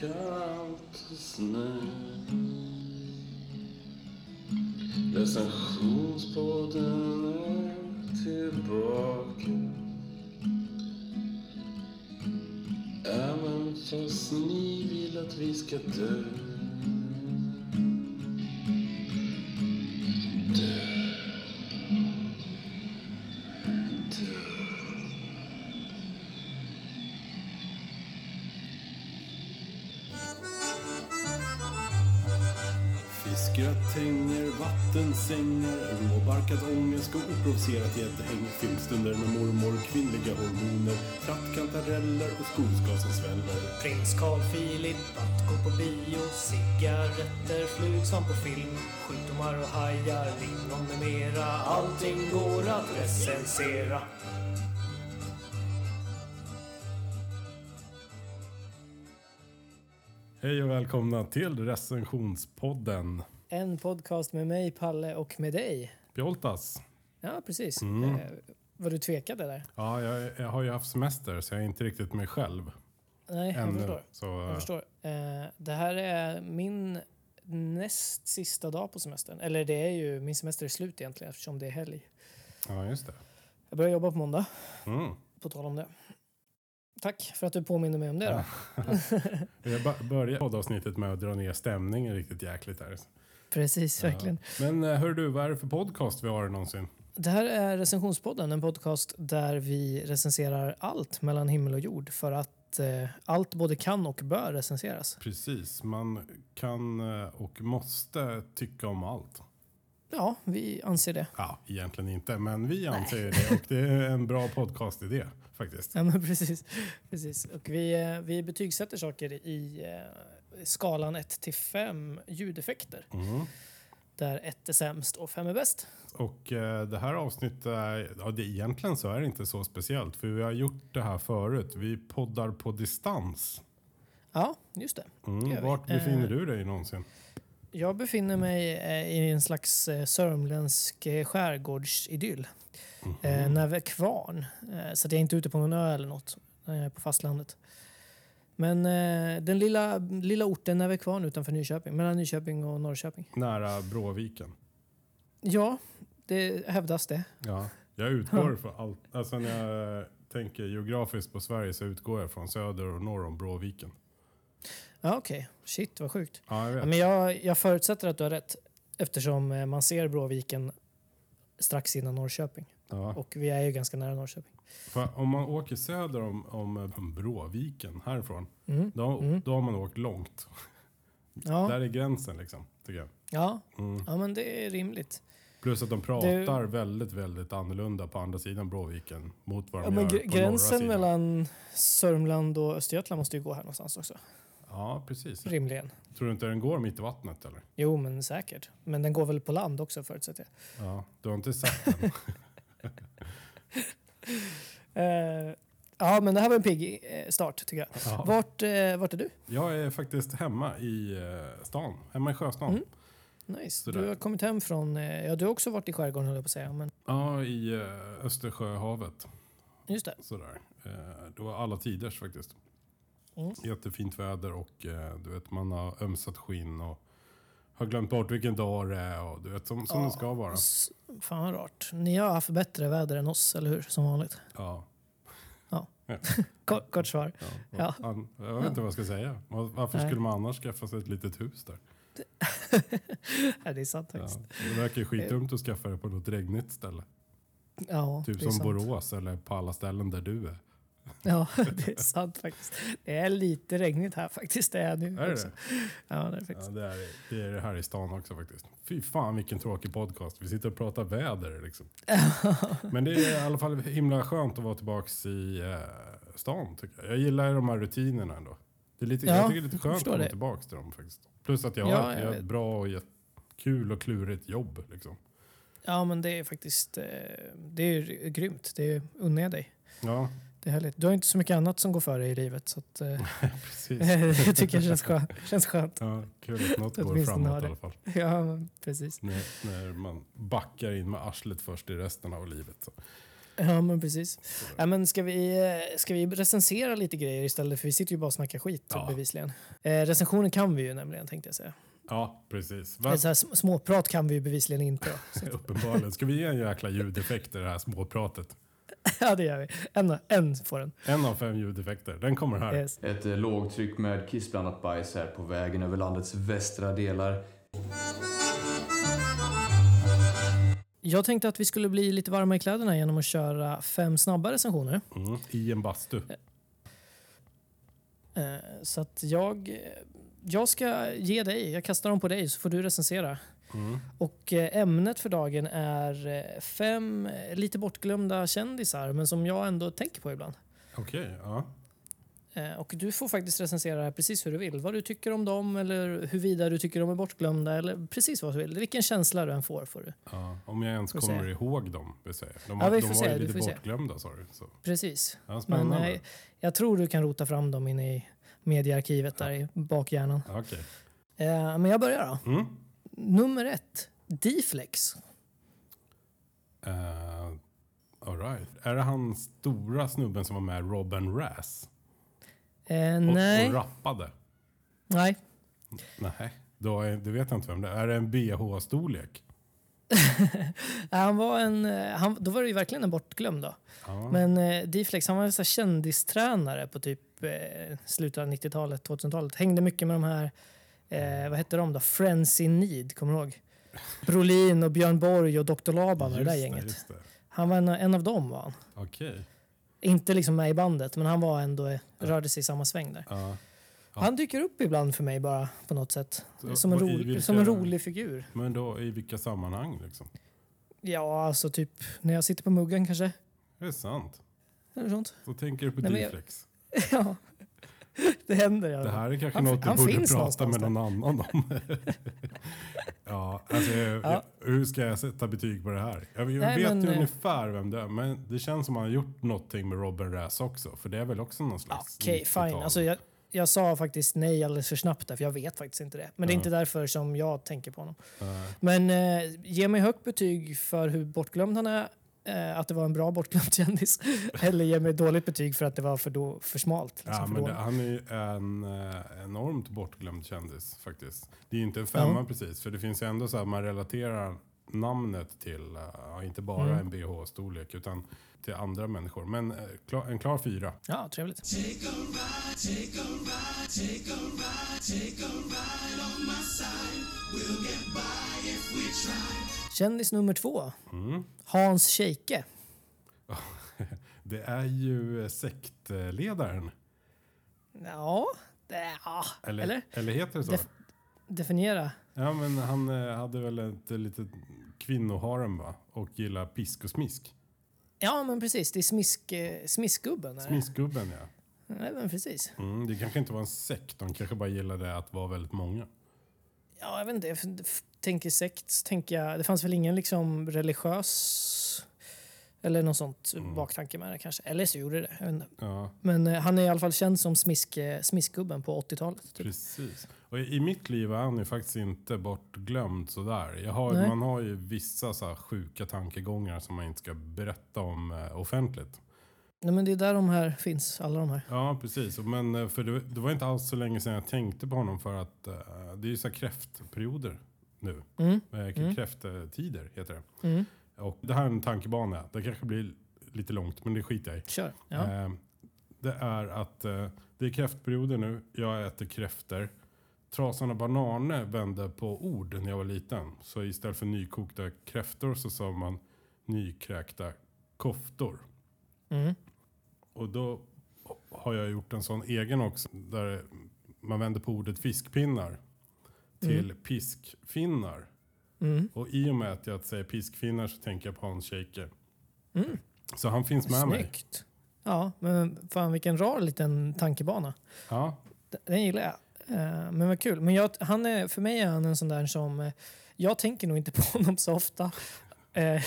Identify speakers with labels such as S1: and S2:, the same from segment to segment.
S1: kallt och snö. Recensionsbåten är tillbaka. Även fast ni vill att vi ska dö. Dö. Dö.
S2: Fiskgratänger, vattensängar, råbarkad ångest och oprovocerat gäddhäng. Filmstunder med mormor, kvinnliga hormoner, trattkantareller och skogsgas som sväller.
S3: Prins Carl Philip, att gå på bio, cigaretter, flug som på film, sjukdomar och hajar, lingon med mera. Allting går att recensera.
S2: Hej och välkomna till recensionspodden.
S3: En podcast med mig, Palle, och med dig.
S2: Pjoltas.
S3: Ja, precis.
S2: Mm.
S3: Eh, Vad du tvekade där.
S2: Ja, jag, jag har ju haft semester så jag är inte riktigt mig själv.
S3: Nej, jag förstår.
S2: Så,
S3: Jag förstår. Eh, Det här är min näst sista dag på semestern. Eller det är ju, min semester är slut egentligen eftersom det är helg.
S2: Ja, just det.
S3: Jag börjar jobba på måndag,
S2: Mm.
S3: på tal om det. Tack för att du påminner mig om det då.
S2: Jag ba- börjar poddavsnittet med att dra ner stämningen riktigt jäkligt här.
S3: Precis, verkligen.
S2: Men eh, hör du, vad är det för podcast vi har någonsin?
S3: Det här är Recensionspodden, en podcast där vi recenserar allt mellan himmel och jord för att eh, allt både kan och bör recenseras.
S2: Precis, man kan eh, och måste tycka om allt.
S3: Ja, vi anser det.
S2: Ja, egentligen inte, men vi anser ju det och det är en bra podcastidé faktiskt.
S3: Ja, men precis. precis. Och vi, eh, vi betygsätter saker i eh, skalan 1 till 5 ljudeffekter.
S2: Mm.
S3: Där 1 är sämst och 5 är bäst.
S2: Och eh, det här avsnittet, är, ja, det, egentligen så är det inte så speciellt för vi har gjort det här förut. Vi poddar på distans.
S3: Ja, just det. Det gör
S2: Mm,
S3: vi.
S2: vart
S3: Eh,
S2: befinner du dig någonsin?
S3: Jag befinner mig eh, i en slags eh, sörmländsk eh, skärgårdsidyll. Eh, Näve kvarn. Eh, Så att jag är inte ute på någon ö eller något eh, på fastlandet. Men eh, den lilla, lilla orten Näve kvarn utanför Nyköping, mellan Nyköping och Norrköping.
S2: Nära Bråviken.
S3: Ja, det hävdas det.
S2: Ja, jag utgår från allt. Alltså när jag tänker geografiskt på Sverige så utgår jag från söder och norr om Bråviken.
S3: Ja, okej. Shit, vad sjukt.
S2: Ja, jag
S3: Ja,
S2: vet.
S3: men jag, jag förutsätter att du har rätt eftersom eh, man ser Bråviken strax innan Norrköping.
S2: Ja.
S3: Och vi är ju ganska nära Norrköping.
S2: För om man åker söder om, om, om Bråviken härifrån, då, då har man åkt långt.
S3: Mm. Ja,
S2: Där är gränsen liksom, tycker jag. Mm.
S3: ja. ja men det är rimligt.
S2: Plus att de pratar väldigt, väldigt annorlunda på andra sidan Bråviken mot vad de
S3: Ja, men
S2: gör
S3: gr-
S2: på norra
S3: gränsen
S2: sidan.
S3: mellan Sörmland och Östergötland måste ju gå här någonstans också.
S2: Ja, precis.
S3: Rimligen.
S2: Tror du inte den går mitt i vattnet eller?
S3: Jo, men säkert. Men den går väl på land också förutsätter jag.
S2: Ja, du har inte sett den?
S3: Eh, ja, men det här var en pigg eh, start tycker jag.
S2: Ja.
S3: Vart, eh, vart är du?
S2: Jag är faktiskt hemma i eh, stan, hemma i Sjöstan.
S3: Mm. Nice.
S2: Sådär.
S3: Du har kommit hem från... Eh, ja, du har också varit i skärgården höll jag på att säga. Men
S2: Ja, i eh, Östersjöhavet.
S3: just det.
S2: Sådär. Eh, Det var alla tiders faktiskt.
S3: Mm.
S2: Jättefint väder och eh, du vet man har ömsat skinn och har glömt bort vilken dag det är och du vet som, som det ska vara.
S3: S- Fan vad rart. Ni har haft bättre väder än oss, eller hur? Som vanligt.
S2: Ja.
S3: Ja. Kort, kort svar.
S2: Ja.
S3: Ja.
S2: An- Jag vet inte vad jag ska säga. Var- Varför
S3: Nej.
S2: skulle man annars skaffa sig ett litet hus där?
S3: Ja, det är sant
S2: Ja.
S3: faktiskt.
S2: Det verkar ju skitdumt att skaffa det på något regnigt ställe.
S3: Ja,
S2: Typ
S3: det är
S2: som
S3: sant.
S2: Borås eller på alla ställen där du är.
S3: Ja, det är sant faktiskt. Det är lite regnigt här faktiskt. Det är nu
S2: Är det
S3: också.
S2: det?
S3: Ja, det är
S2: Ja,
S3: faktiskt.
S2: det, är, det är det här i stan också faktiskt. Fy fan vilken tråkig podcast. Vi sitter och pratar väder liksom. Men det är i alla fall himla skönt att vara tillbaks i eh, stan tycker jag. Jag gillar ju de här rutinerna ändå. Det är lite,
S3: Ja,
S2: jag tycker det är lite
S3: jag
S2: skönt att
S3: förstår
S2: komma
S3: det.
S2: tillbaks till dem faktiskt. Plus att jag
S3: Ja,
S2: har ett-
S3: jag
S2: jag har ett
S3: vet.
S2: bra och jätt- kul och klurigt jobb liksom.
S3: Ja, men det är faktiskt eh, det är ju grymt. Det unnar jag dig.
S2: Ja,
S3: Det är härligt. Du har inte så mycket annat som går för dig i livet. Så att, eh,
S2: precis.
S3: det tycker jag känns skönt. Känns skönt.
S2: Ja, kul att något går
S3: Åtminstone har
S2: framåt i
S3: det.
S2: alla fall.
S3: Ja, men precis.
S2: När, när man backar in med arslet först i resten av livet. Så.
S3: Ja, men precis. Ja, men ska, vi, eh, ska vi recensera lite grejer istället? För vi sitter ju bara och snackar skit
S4: Ja.
S3: bevisligen. Eh, recensionen kan vi ju nämligen tänkte jag säga.
S4: Ja, precis. Va?
S3: Men Så här, sm- småprat kan vi ju bevisligen inte. då.
S4: Uppenbarligen. Ska vi ge en jäkla ljudeffekt i det här småpratet?
S3: ja, det gör vi. En, en får den.
S4: En av fem ljudeffekter. Den kommer här.
S3: Yes.
S5: Ett eh, lågtryck med kissblandat bajs är på vägen över landets västra delar.
S3: Jag tänkte att vi skulle bli lite varma i kläderna genom att köra fem snabba recensioner.
S4: Mm. I en bastu.
S3: Eh, Så att jag, jag ska ge dig, jag kastar dem på dig så får du recensera.
S4: Mm.
S3: Och eh, ämnet för dagen är eh, fem eh, lite bortglömda kändisar men som jag ändå tänker på ibland.
S4: Okej, ja.
S3: Eh, Och du får faktiskt recensera precis hur du vill. Vad du tycker om dem eller huruvida du tycker de är bortglömda eller precis vad du vill. Vilken känsla du än får får du.
S4: ja. Om jag ens
S3: Får se.
S4: kommer ihåg dem, vill säga. De,
S3: Ja, vi
S4: de
S3: får
S4: var
S3: se,
S4: ju
S3: vi
S4: lite
S3: får se.
S4: bortglömda, sa du. Så.
S3: Precis.
S4: Ja,
S3: Men
S4: spännande.
S3: eh, jag tror du kan rota fram dem inne i mediearkivet där i bakhjärnan.
S4: Ja, Okej.
S3: Eh, Men jag börjar då.
S4: Mm.
S3: Nummer ett. Deflex.
S4: Eh, all right. Är det han stora snubben som var med Robin Rass?
S3: Eh,
S4: Och,
S3: nej.
S4: och rappade?
S3: nej.
S4: Nej, då är, det vet jag inte vem det är. Är det en bh-storlek?
S3: Nej, Han var en, eh, han, då var det ju verkligen en bortglömd. Då.
S4: Ja.
S3: Men eh, Deflex han var en sån här kändistränare på typ eh, slutet av 90-talet, 2000-talet. Hängde mycket med de här, eh, vad hette de då? Friends in Need, kommer du ihåg? Brolin och Björn Borg och Dr. Laban och det där gänget.
S4: just det.
S3: Han var en, en av dem var han.
S4: Okej.
S3: Inte liksom med i bandet, men han var ändå, eh, rörde sig i samma sväng där.
S4: Ja. Ja.
S3: Han dyker upp ibland för mig bara på något sätt.
S4: Så,
S3: Som en,
S4: och i
S3: rolig-
S4: vilka-
S3: som en rolig figur.
S4: Men då i vilka sammanhang liksom?
S3: Ja, alltså typ när jag sitter på muggen kanske.
S4: Det är sant.
S3: Eller sånt.
S4: Så tänker du på
S3: Nej, men jag-
S4: Deflex.
S3: Ja, det händer. Ja.
S4: Det här är kanske
S3: Han-
S4: något du
S3: han
S4: borde
S3: finns
S4: prata
S3: någonstans
S4: med
S3: där.
S4: någon annan om. ja, alltså, jag-
S3: Ja.
S4: Hur ska jag sätta betyg på det här? Jag, jag
S3: Nej,
S4: vet
S3: men,
S4: ju
S3: eh,
S4: ungefär vem det är, men det känns som att han har gjort någonting med Robin Rass också. För det är väl också någon slags...
S3: Okej,
S4: 90-tal.
S3: fine. Alltså, jag, jag sa faktiskt nej alldeles för snabbt där, för jag vet faktiskt inte det. Men det är
S4: Ja.
S3: inte därför som jag tänker på honom.
S4: Nej.
S3: Men eh, ge mig högt betyg för hur bortglömd han är, eh, att det var en bra bortglömd kändis. Eller ge mig dåligt betyg för att det var för, då, för smalt. Liksom,
S4: Ja,
S3: för
S4: men det,
S3: dåligt.
S4: han är ju en eh, enormt bortglömd kändis faktiskt. Det är ju inte en femma
S3: Ja.
S4: precis, för det finns ju ändå så här, man relaterar namnet till, eh, ja, inte bara en bh-storlek, utan till andra människor. Men eh, klar, en klar fyra.
S3: Ja, trevligt. Kändis nummer två.
S4: Mm.
S3: Hans Scheike.
S4: Det är ju eh, sektledaren.
S3: Ja, det, ja.
S4: Eller,
S3: Eller?
S4: eller? heter det så?
S3: Def- Definiera.
S4: ja, men han eh, hade väl ett litet kvinnoharem va? Och gillar pisk och smisk.
S3: Ja, men precis. Det är smisk, eh, smiskgubben. är det?
S4: Smiskgubben ja.
S3: Nej, men precis.
S4: Mm, det kanske inte var en sekt, de kanske bara gillade att vara väldigt många.
S3: Ja, jag vet inte. Jag f- f- tänker sekt. Tänker jag, det fanns väl ingen liksom religiös eller något sånt
S4: Mm.
S3: baktanke med det kanske. Eller så gjorde det. Jag vet inte.
S4: Ja.
S3: Men eh, han är i alla fall känd som smisk, eh, smiskgubben på 80-talet. Typ.
S4: Precis. Och i i mitt liv är han ju faktiskt inte bortglömd sådär. Jag har,
S3: Nej.
S4: man har ju vissa så här sjuka tankegångar som man inte ska berätta om eh, offentligt.
S3: Nej, men det är där de här finns, alla de här.
S4: Ja, precis. Och Men eh, för det, det var inte alls så länge sedan jag tänkte på honom för att eh, det är ju så här kräftperioder nu.
S3: Mm.
S4: Eh, k-
S3: Mm.
S4: Kräfttider heter det.
S3: Mm.
S4: Och det här är en tankebana. Det kanske blir lite långt, men det skiter jag i.
S3: Kör. Ja.
S4: Eh, Det är att eh, det är kräftperioder nu. Jag äter kräfter. Trasan och banane vände på ord när jag var liten. Så istället för nykokta kräftor så sa man nykräkta koftor.
S3: Mm.
S4: Och då har jag gjort en sån egen också. Där man vänder på ordet fiskpinnar till piskfinnar.
S3: Mm.
S4: Och i och med att jag säger piskfinnar så tänker jag på Hans Scheike. Så han finns med
S3: mm.
S4: mig.
S3: Snyggt. Ja, men fan vilken rar liten tankebana.
S4: Ja,
S3: Den- Den gillar jag. Eh, Men vad kul. Men jag, han är, för mig är han en sån där som... eh, Jag tänker nog inte på honom så ofta. Eh,
S4: när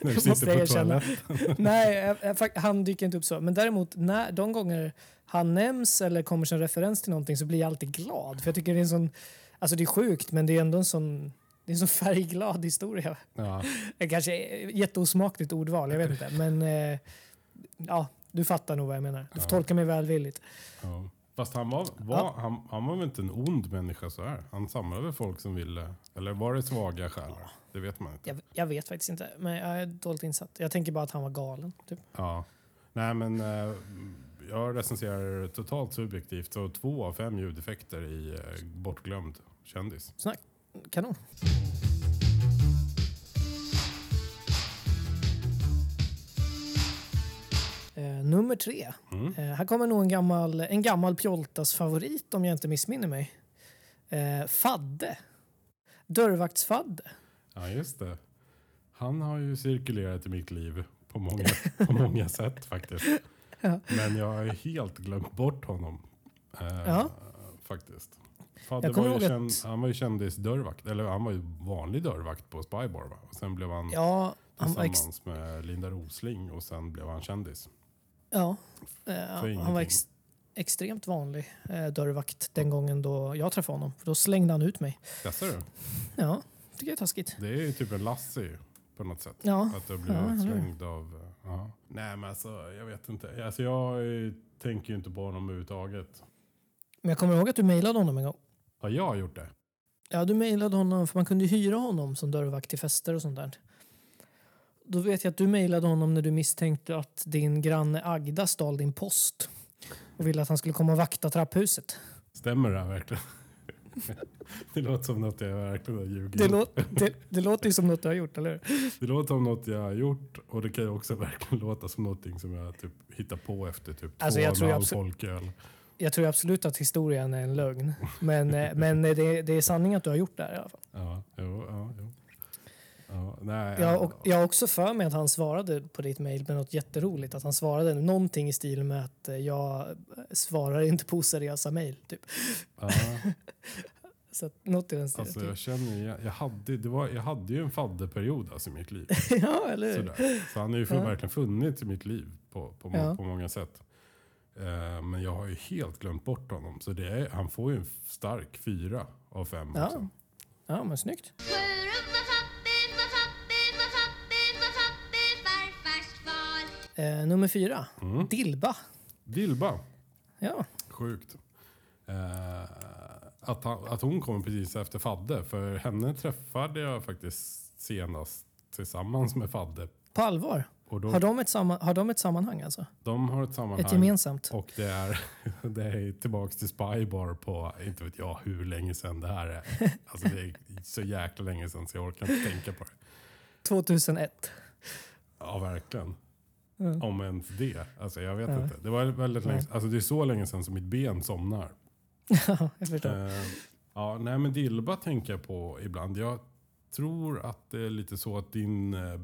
S4: du
S3: Måste jag
S4: sitter på
S3: erkänna.
S4: toaletten.
S3: Nej, jag, jag, fakt- han dyker inte upp så. Men däremot, när, de gånger han nämns eller kommer som referens till någonting så blir jag alltid glad. För jag tycker det är en sån... Alltså det är sjukt, men det är ändå en sån Det är en så färgglad historia.
S4: Ja,
S3: Det kanske är jätteosmakligt ordval, jag vet inte. Men eh, ja, du fattar nog vad jag menar. Du får
S4: Ja.
S3: tolka mig välvilligt.
S4: ja. Fast han var, var, han, han var väl inte en ond människa så här. Han samlade väl folk som ville. Eller var det svaga själar? Det vet man inte.
S3: Jag, jag vet faktiskt inte, men jag är dåligt insatt. Jag tänker bara att han var galen. Typ.
S4: Ja. Nej men eh, jag recenserar totalt subjektivt. Så två av fem ljudeffekter i eh, Bortglömd kändis.
S3: Snack. Kanon. Eh, nummer tre.
S4: Mm.
S3: Eh, här kommer nog en gammal, en gammal Pjoltas favorit om jag inte missminner mig. Eh, fadde. Dörrvaktsfadde.
S4: Mm. Ja just det. Han har ju cirkulerat i mitt liv på många, på många sätt faktiskt.
S3: Ja.
S4: Men jag har ju helt glömt bort honom. Eh,
S3: Ja.
S4: Faktiskt. Fadde
S3: Jag kommer
S4: var ju
S3: ihåg
S4: känd,
S3: att-
S4: Han var ju kändis dörrvakt, eller han var ju vanlig dörrvakt på Spybar va? Och sen blev han
S3: Ja, han var, ex-
S4: tillsammans med Linda Rosling och sen blev han kändis.
S3: ja, eh, han var
S4: ingenting.
S3: ex- extremt vanlig eh, dörrvakt den gången då jag träffade honom. För då slängde han ut mig.
S4: Jaså du?
S3: Ja, tycker jag är taskigt.
S4: Det är ju typ en Lassie på något sätt.
S3: Ja,
S4: Att du blev
S3: Ja, eller hur?
S4: utslängd av... Ja. Nej men alltså jag vet inte. Alltså, jag eh, tänker ju inte på honom överhuvudtaget.
S3: men jag kommer ihåg att du mejlade honom en gång.
S4: Har jag gjort det?
S3: Ja, du mejlade honom för man kunde hyra honom som dörrvakt till fester och sånt där. Då vet jag att du mejlade honom när du misstänkte att din granne Agda stal din post och ville att han skulle komma och vakta trapphuset.
S4: Stämmer det här verkligen? det låter som något jag verkligen har ljugit.
S3: Det,
S4: Det,
S3: lå- det, det låter ju som något du har gjort, eller hur?
S4: det låter som något jag har gjort och det kan ju också verkligen låta som någonting som jag typ hittar på efter typ
S3: Alltså,
S4: två
S3: jag
S4: och
S3: tror
S4: en
S3: jag
S4: halv
S3: absolut-
S4: folköl.
S3: Jag tror absolut att historien är en lögn. Men, eh, men eh, det, det är sanning att du har gjort det här i alla fall.
S4: Ja, jo, ja, jo. Ja, nej,
S3: Jag, och, jag har också för mig att han svarade på ditt mejl med något jätteroligt. Att han svarade någonting i stil med att eh, jag svarar inte på oseriösa mejl. Typ.
S4: ja,
S3: Så att, något i den stilen.
S4: alltså,
S3: typ.
S4: jag känner ju, jag, jag hade, ju- det var, jag hade ju en fadderperiod alltså, i mitt liv.
S3: ja, eller hur?
S4: Sådär. Så han har ju
S3: Ja.
S4: verkligen funnits i mitt liv på, på, må-
S3: Ja.
S4: på många sätt. Eh, men jag har ju helt glömt bort honom. Så det är, han får ju en stark fyra av fem
S3: Ja.
S4: också.
S3: Ja, men snyggt.
S6: Svor upp med fabbis, med fabbis, med fabbis, med fabbis farfars far.
S3: Eh, nummer fyra,
S4: Mm.
S3: Dilba.
S4: Dilba,
S3: Ja,
S4: sjukt. Eh, att, han, att hon kommer precis efter Fadde. För henne träffade jag faktiskt senast tillsammans med Fadde.
S3: på allvar.
S4: Och då,
S3: Har de ett, samma, har de ett sammanhang alltså?
S4: de har ett Mm. sammanhang.
S3: Ett gemensamt?
S4: Och det är, det är tillbaks till Spybar på, inte vet jag hur länge sedan det här är. Alltså det är så jäkla länge sedan så jag orkar inte tänka på det.
S3: 2001.
S4: Ja, verkligen.
S3: Mm.
S4: Om ens det. Alltså jag vet
S3: Ja.
S4: inte. Det var väldigt länge
S3: Nej.
S4: Alltså det är så länge sedan som mitt ben somnar.
S3: jag förstår.
S4: Eh, ja, nej men Dilba tänker jag på ibland. Jag tror att det är lite så att din eh,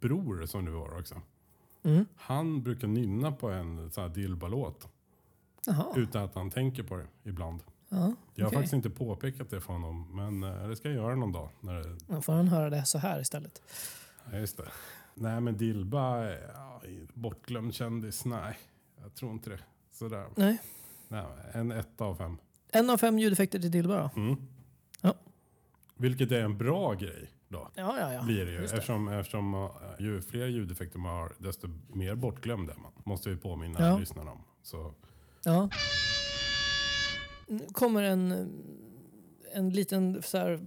S4: bror som du har också.
S3: Mm.
S4: Han brukar nynna på en sån här Dilba-låt.
S3: Jaha.
S4: Utan att han tänker på det ibland.
S3: Ja,
S4: Jag har
S3: okej.
S4: faktiskt inte påpekat det för honom, men eh, det ska jag göra någon dag. När det,
S3: Då får han höra det så här istället.
S4: ja, just det. Nej, men Dilba, eh, ja, bortglömd kändis, nej. Jag tror inte det. Sådär.
S3: Nej.
S4: Nej, en etta av fem.
S3: En av fem ljudeffekter till Dilba då?
S4: Mm.
S3: Ja.
S4: Vilket är en bra grej då.
S3: Ja, ja, ja.
S4: Blir det ju.
S3: just
S4: Eftersom, eftersom eh, ju fler ljudeffekter man har, desto mer bortglömd är man. Måste vi påminna
S3: Ja.
S4: lyssnarna om. Så,
S3: Ja. Nu kommer en, en liten... Så här,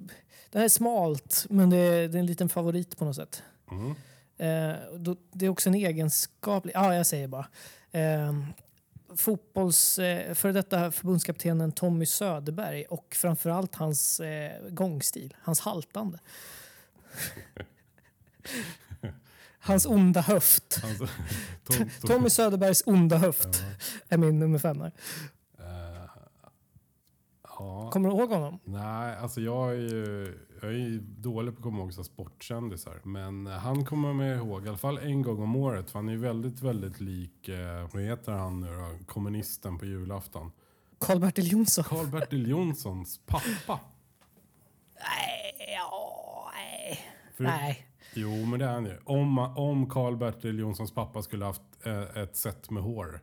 S3: det här är smalt, men det är, det är en liten favorit på något sätt.
S4: mm.
S3: Eh, och då, det är också en egenskaplig... Ja, jag säger bara. Eh, fotbolls... Eh, för detta förbundskaptenen Tommy Söderberg och framförallt hans eh, gångstil, hans haltande. hans onda höft.
S4: alltså, Tom, Tom,
S3: Tommy Söderbergs onda höft
S4: Ja.
S3: är min nummer fem här.
S4: Eh, ja.
S3: Kommer du ihåg honom?
S4: Nej, alltså jag är ju, jag är ju dålig på att komma ihåg så här sportkändisar. Men eh, han kommer man ihåg i alla fall en gång om året. För han är ju väldigt, väldigt lik, eh, vad heter han nu då? Kommunisten på julafton.
S3: Karl-Bertil Jonsson?
S4: Karl-Bertil Jonssons pappa.
S3: Nej, ja, nej.
S4: För-
S3: nej.
S4: Jo, men det är han ju. Om, om Karl-Bertil Jonssons pappa skulle haft eh, ett set med hår.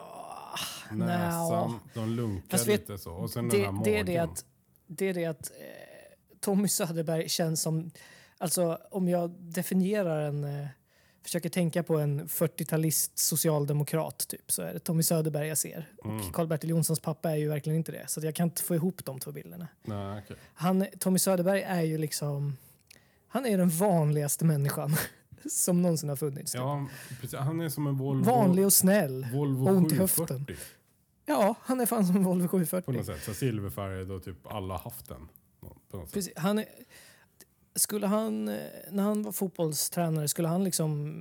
S3: Ah,
S4: Näsan,
S3: nja.
S4: de lunkar
S3: Fast vet-
S4: lite så. Och sen den här
S3: Det,
S4: magen.
S3: det är det att, det är det att eh, Tommy Söderberg känns som... Alltså om jag definierar en... Eh, försöker tänka på en 40-talist socialdemokrat typ så är det Tommy Söderberg jag ser.
S4: Mm.
S3: Och Karl-Bertil Jonssons pappa är ju verkligen inte det. Så att jag kan inte få ihop de två bilderna.
S4: Nej, okej.
S3: Han, Tommy Söderberg är ju liksom... Han är ju den vanligaste människan som någonsin har funnits. typ.
S4: Ja, precis. Han är som en Volvo,
S3: Vanlig och snäll.
S4: Volvo
S3: och ont i
S4: 740
S3: Ja, han är fan som en Volvo 740.
S4: på något sätt. Så silverfärgad och typ alla haft den. Nå- På något sätt.
S3: Precis. Han, är- skulle han, eh, när han var fotbollstränare, skulle han liksom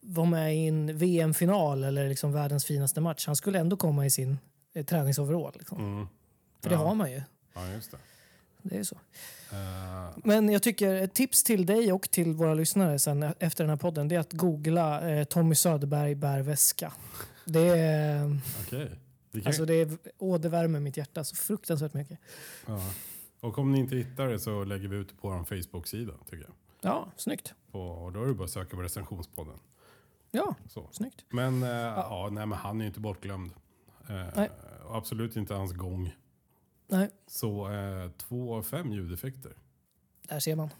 S3: vara med i en VM-final eller liksom världens finaste match? Han skulle ändå komma i sin eh, träningsoverall. Liksom.
S4: Mm.
S3: För det
S4: Ja.
S3: har man ju.
S4: Ja, just det.
S3: Det är ju så.
S4: Eh,
S3: Men jag tycker ett tips till dig och till våra lyssnare sen e- efter den här podden det är att googla eh, Tommy Söderberg bär väska. Det, är,
S4: Okej. Det kan-
S3: alltså det är, åh, det värmer mitt hjärta så fruktansvärt mycket.
S4: ja. Och om ni inte hittar det så lägger vi ut det på vår Facebook-sida tycker jag.
S3: Ja, snyggt.
S4: På, och då är det bara att söka på recensionspodden.
S3: Ja,
S4: Så.
S3: snyggt.
S4: Men, eh, ja. nej, men han är ju inte bortglömd. Eh,
S3: Nej.
S4: och Absolut inte hans gång.
S3: Nej,
S4: Så eh, två av fem ljudeffekter.
S3: där ser man.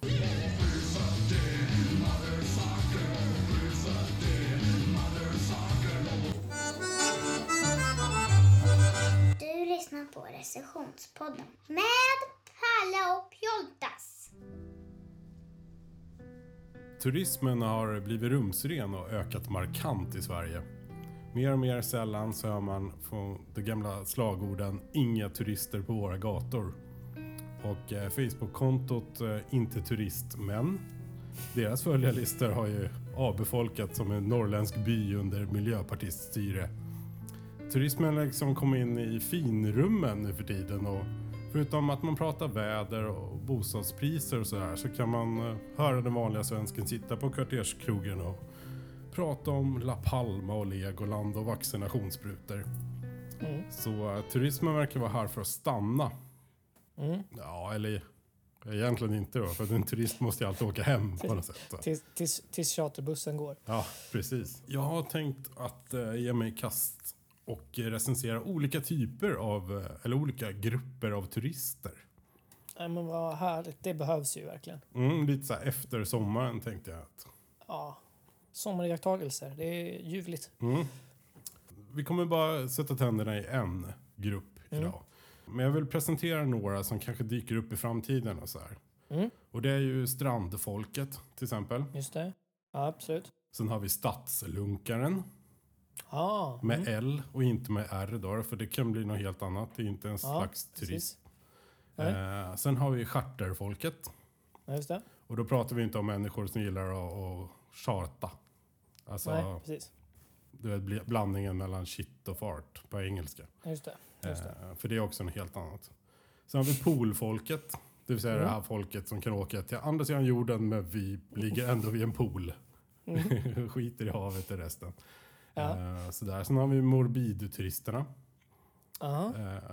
S7: Du lyssnar på recensionspodden med Palle och Pjoltas.
S4: Turismen har blivit rumsren och ökat markant i Sverige. Mer och mer sällan så hör man från de gamla slagorden “inga turister på våra gator”. Och eh, Facebook-kontot eh, “Inte turist men” deras följarlistor har ju avbefolkat som en norrländsk by under miljöpartiststyre. Turismen har liksom kom in i finrummen nu för tiden och förutom att man pratar väder och bostadspriser och sådär så kan man eh, höra den vanliga svensken sitta på kvarterskrogen och prata om La Palma och Legoland och vaccinationssprutor. Så eh, turismen verkar vara här för att stanna. Ja, eller egentligen inte då, för att en turist måste ju alltid åka hem på något sätt. va?
S3: Tills, tills, tills charterbussen går.
S4: Ja, precis. Jag har tänkt att eh, ge mig i kast och eh, recensera olika typer av, eh, eller olika grupper av turister.
S3: Nej, men vad härligt. Det behövs ju verkligen.
S4: Mm, lite så här efter sommaren tänkte jag. Att.
S3: Ja. Sommariakttagelser. Det är ljuvligt.
S4: Mm. Vi kommer bara sätta tänderna i en grupp idag. Men jag vill presentera några som kanske dyker upp i framtiden och så här.
S3: Mm.
S4: Och det är ju strandfolket till exempel.
S3: Just det. Ja, absolut.
S4: Sen har vi stadslunkaren
S3: Ja.
S4: med L och inte med R då, för det kan bli något helt annat. Det är inte en
S3: ja,
S4: slags
S3: precis.
S4: turism.
S3: Nej.
S4: Eh, sen har vi charterfolket.
S3: Ja, just det.
S4: Och då pratar vi inte om människor som gillar att, att charta. Alltså,
S3: Nej, precis.
S4: du vet, bli- blandningen mellan shit och fart på engelska.
S3: Ja, Just det. Just det.
S4: Eh, för det är också något helt annat. Sen har vi poolfolket. Det vill säga
S3: Mm.
S4: det här folket som kan åka till andra sidan jorden men vi ligger ändå vid en pool. Skiter i havet och resten.
S3: Mm. Ja.
S4: Eh, sådär. Sen har vi morbidturisterna.
S3: Aha.
S4: Eh,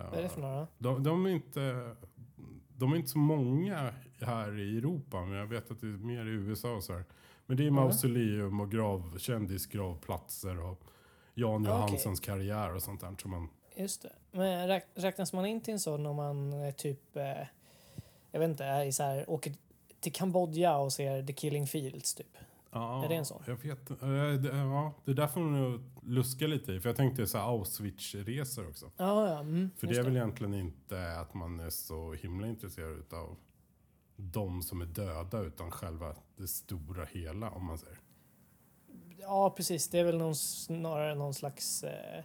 S3: Vad är det för några?
S4: De, de, är inte, de är inte så många här i Europa, men jag vet att det är mer i USA och så här. Men det är mausoleum och grav, kändisgravplatser och Jan
S3: Okej.
S4: Johanssons karriär och sånt där. Tror man.
S3: Just det. Men räk- räknas man in till en sån om man eh, typ... Eh, jag vet inte. Är i så här, åker till Kambodja och ser The Killing Fields typ.
S4: Ja,
S3: Är det en sån?
S4: Jag vet eh, det, Ja, det där får man nog luska lite i. För jag tänkte så här Auschwitz-resor också.
S3: Ja, ja. Mm,
S4: För
S3: just
S4: det är väl egentligen inte att man är så himla intresserad utav de som är döda, utan själva det stora hela, om man säger.
S3: Ja, precis. Det är väl någon, snarare någon slags... Eh,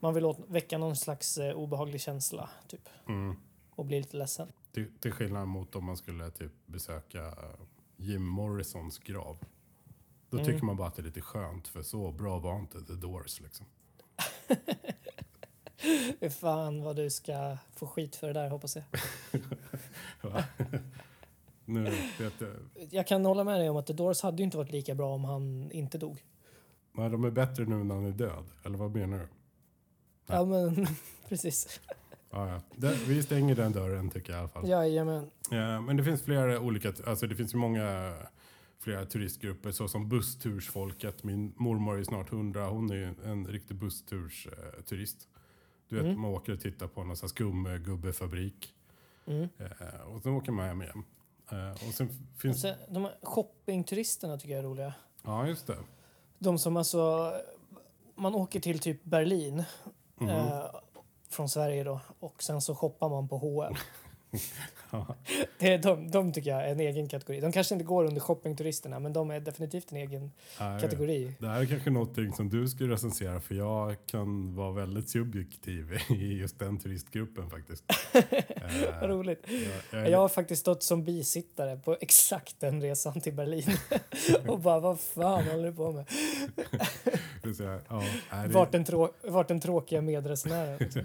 S3: man vill åt, väcka någon slags eh, obehaglig känsla, typ.
S4: Mm.
S3: Och bli lite ledsen.
S4: Till, till skillnad mot om man skulle typ besöka eh, Jim Morrisons grav. Då tycker man bara att det är lite skönt för så bra var inte The Doors liksom.
S3: Fy Fan vad du ska få skit för det där, hoppas jag.
S4: Va? nu vet jag.
S3: Jag kan hålla med dig om att The Doors hade ju inte varit lika bra om han inte dog.
S4: Nej, de är bättre nu när han är död. Eller vad menar du? Ja.
S3: Ja, men precis.
S4: Ja, ja. Det, vi stänger den dörren tycker jag i alla fall.
S3: Jajamän.
S4: Eh, men det finns flera olika, alltså det finns ju många flera turistgrupper såsom busstursfolket. Min mormor är ju snart 100, hon är ju en riktig
S3: Mm.
S4: busstursurist. Du vet, man åker och tittar på någon sån här skumgubbefabrik.
S3: Mm.
S4: Eh, och sen åker Miami hem. Eh, och sen finns...
S3: Sen, de här shoppingturisterna tycker jag är roliga.
S4: Ja, just det.
S3: De som alltså... Man åker till typ Berlin
S4: Mhm.
S3: eh, från Sverige då och sen så shoppar man på H&M. det är de, de tycker jag är en egen kategori. De kanske inte går under shoppingturisterna men de är definitivt en egen
S4: Nej, jag vet.
S3: kategori.
S4: Det här är kanske någonting som du skulle recensera för jag kan vara väldigt subjektiv i just den turistgruppen faktiskt. Eh,
S3: Vad roligt.
S4: jag, jag,
S3: Jag har faktiskt stått som bisittare på exakt den resan till Berlin och bara vad fan håller du på med?
S4: jag, jag, ja, nej, det,
S3: Vart den, trå- vart den tråkiga medresenären. liksom.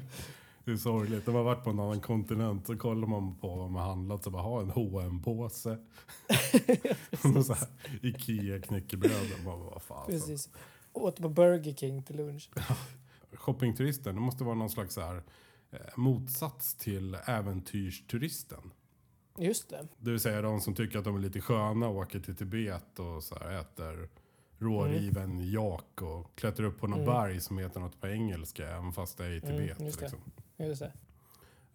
S4: Det är sorgligt. De har varit på en annan kontinent så kollar man på vad de har handlat så bara ha en hm påse Och så här, Ikea knäckebröd. Och bara, vad fan.
S3: Precis. Åt på Burger King till lunch.
S4: Shoppingturisten, det måste vara någon slags så här, eh, motsats till äventyrsturisten.
S3: Just det.
S4: Det vill säga de som tycker att de är lite sköna och åker till Tibet och så här, äter råriven
S3: Mm.
S4: jak och klättrar upp på något berg som heter något på engelska även fast det är i Tibet.
S3: Mm, just det.
S4: liksom.
S3: Just det.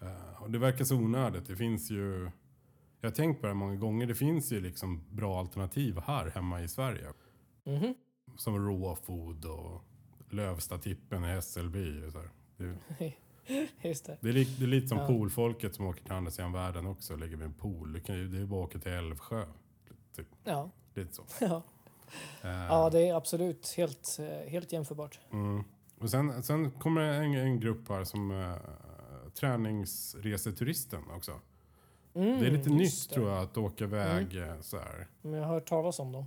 S4: Eh, Och det verkar så onödigt. Det finns ju... Jag har tänkt på det här många gånger. Det finns ju liksom bra alternativ här hemma i Sverige.
S3: Mhm.
S4: Som raw food och Lövstatippen i Hässelby. och Så här. Det,
S3: Just det.
S4: det, är li, det är lite som
S3: Ja.
S4: poolfolket som åker till andra sidan världen också och lägger vid en pool. Du kan ju, det är ju bara att åka till Älvsjö. Typ.
S3: Ja.
S4: Lite så.
S3: Ja.
S4: Eh,
S3: ja, det är absolut helt, eh, helt jämförbart.
S4: Mm. Och sen, sen kommer det en, en grupp här som eh, träningsreseturisten också.
S3: Mm,
S4: det är lite nytt
S3: just det. Mm.
S4: tror jag att åka iväg eh, så här.
S3: Men jag har hört talas om dem.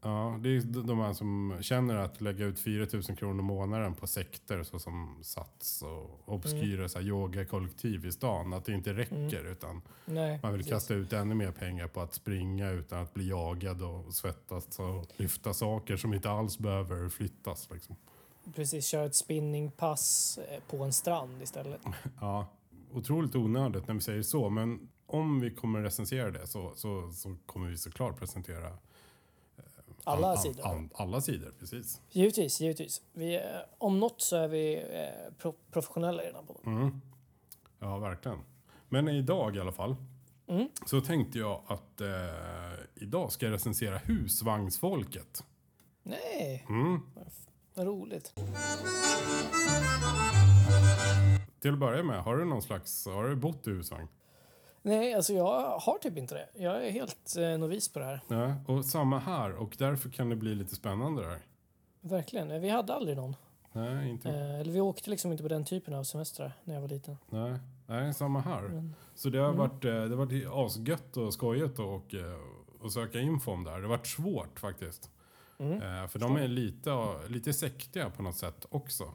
S4: Ja, det är de de här som känner att lägga ut 4 000 kronor i månaden på sekter såsom Sats och obskyra
S3: Mm.
S4: så här yogakollektiv i stan. Att det inte räcker utan
S3: Nej,
S4: man vill
S3: precis.
S4: kasta ut ännu mer pengar på att springa utan att bli jagad och svettas och lyfta saker som inte alls behöver flyttas. Liksom.
S3: precis. Köra ett spinningpass eh, på en strand istället.
S4: Ja, otroligt onödigt när vi säger så, men om vi kommer recensera det så, så, så kommer vi såklart presentera
S3: Alla
S4: an- an-
S3: sidor.
S4: an- alla sidor, precis.
S3: Givetvis, givetvis. Vi, eh, om något så är vi eh, pro- professionella i den här podden.
S4: Ja, verkligen. Men idag i alla fall så tänkte jag att eh, idag ska jag recensera Husvagnsfolket. Mm.
S3: Nej! Vad f- Vad roligt.
S4: Till att börja med, har du någon slags, har du bott i husvagn?
S3: Nej, alltså jag har typ inte det. Jag är helt eh, novis på det här.
S4: Nej, och samma här och därför kan det bli lite spännande där.
S3: Verkligen. Eh, Vi hade aldrig någon.
S4: Nej, inte
S3: Eh, eller vi åkte liksom inte på den typen av semestrar när jag var liten.
S4: Nej, nej samma här. Så det har varit, eh, det har varit asgött och skojigt och, eh, att söka info om det här. Det har varit svårt faktiskt. Eh, För de är lite, lite sektiga på något sätt också.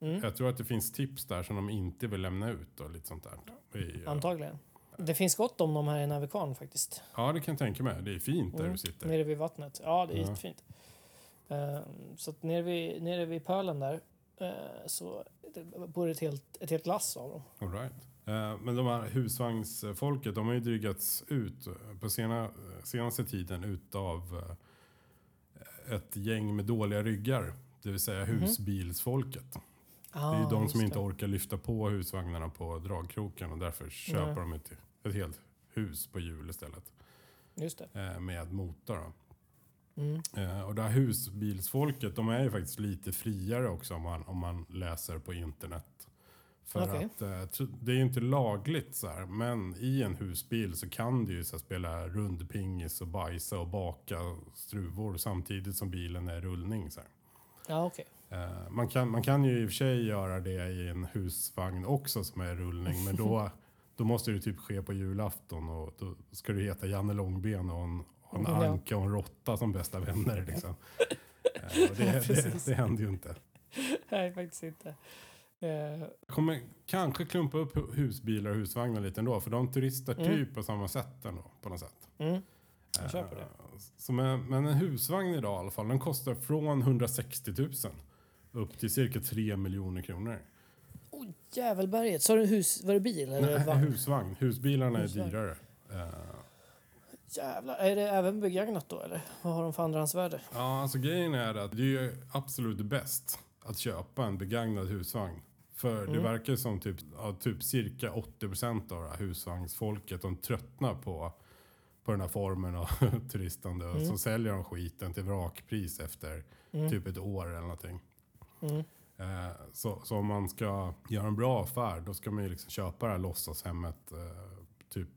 S3: Mm.
S4: Jag tror att det finns tips där som de inte vill lämna ut och lite sånt där. I, eh,
S3: Antagligen. Det finns gott om dem här i Navikan faktiskt.
S4: Ja, det kan jag tänka mig. Det är fint
S3: Mm.
S4: där du sitter.
S3: Nere vid vattnet. Ja, det är jättefint. Ehm, så att nere vid, nere vid pölen där eh, så det bor ett helt, ett helt lass av dem.
S4: All right. Eh, Men de här husvagnsfolket, de har ju drygats ut eh, på sena, senaste tiden utav eh, ett gäng med dåliga ryggar. Det vill säga husbilsfolket. Det är ju
S3: Ah,
S4: de
S3: Mhm. just
S4: som inte
S3: det.
S4: orkar lyfta på husvagnarna på dragkroken och därför köper
S3: Nej.
S4: de ett, ett helt hus på hjul istället.
S3: Just det.
S4: eh, Med motor. Då.
S3: Mm.
S4: Eh, Och det här husbilsfolket, de är ju faktiskt lite friare också om man, om man läser på internet. För
S3: Okej.
S4: att eh, tr- det är ju inte lagligt så här, men i en husbil så kan du ju så här, spela rundpingis och bajsa och baka struvor samtidigt som bilen är i rullning. Så här.
S3: Ja, okej.
S4: Eh, Man kan, man kan ju i och för sig göra det i en husvagn också som är i rullning, men då, då måste det typ ske på julafton och då ska du heta Janne Långben och en, och en
S3: Ja.
S4: anka och en råtta som bästa vänner. Liksom. Eh, och det, det, det händer ju inte.
S3: Nej, faktiskt inte. Eh,
S4: Jag kommer kanske klumpa upp hu- husbilar och husvagnar lite ändå, för de turistar typ på samma sätt ändå, på något sätt.
S3: mm. Jag kör på det.
S4: Så men, men en husvagn idag i alla fall, den kostar från 160 000 upp till cirka 3 miljoner kronor.
S3: Oh, Jävelberget. Sa du hus... Var det bil eller
S4: Nej,
S3: vagn?
S4: husvagn. Husbilarna
S3: Husvagn.
S4: är dyrare. Eh,
S3: Jävlar. Är det även begagnat då eller? Vad har de för andrahandsvärde?
S4: ja, alltså grejen är att det är ju absolut bäst att köpa en begagnad husvagn. För
S3: Mm.
S4: det verkar som typ, ja, typ cirka 80% av det här husvagnsfolket, de tröttnar på, på den här formen av turistande.
S3: Mm.
S4: Och så säljer de skiten till vrakpris efter typ ett år eller någonting.
S3: Mm.
S4: Eh, Så, så om man ska göra en bra affär, då ska man ju liksom köpa det här låtsashemmet eh, typ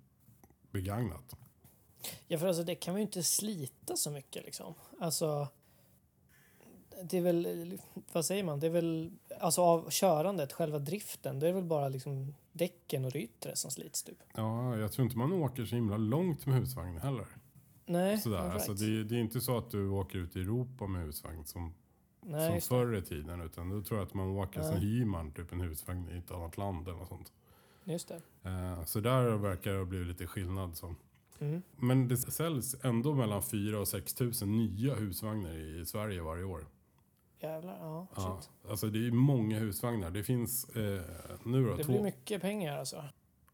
S4: begagnat.
S3: Ja, för alltså, det kan man ju inte slita så mycket. Liksom. Alltså, det är väl, vad säger man, det är väl alltså av körandet, själva driften, det är väl bara liksom däcken och det yttre som slits typ.
S4: Ja, jag tror inte man åker så himla långt med husvagn heller.
S3: Nej,
S4: Sådär.
S3: all right.
S4: Alltså, det, är- det är inte så att du åker ut i Europa med husvagn som,
S3: Nej,
S4: som
S3: just-
S4: förr i tiden. Utan då tror jag att man åker, sen hyr man typ en husvagn i ett annat land eller något sånt.
S3: just det.
S4: Eh, Så där verkar det ha blivit lite skillnad. Så.
S3: Mm.
S4: Men det säljs ändå mellan 4 och 6 000 nya husvagnar i i Sverige varje år.
S3: Jävlar, ja. Shit.
S4: Ja, alltså det är många husvagnar. Det finns eh, nu då
S3: Det
S4: två.
S3: blir mycket pengar alltså.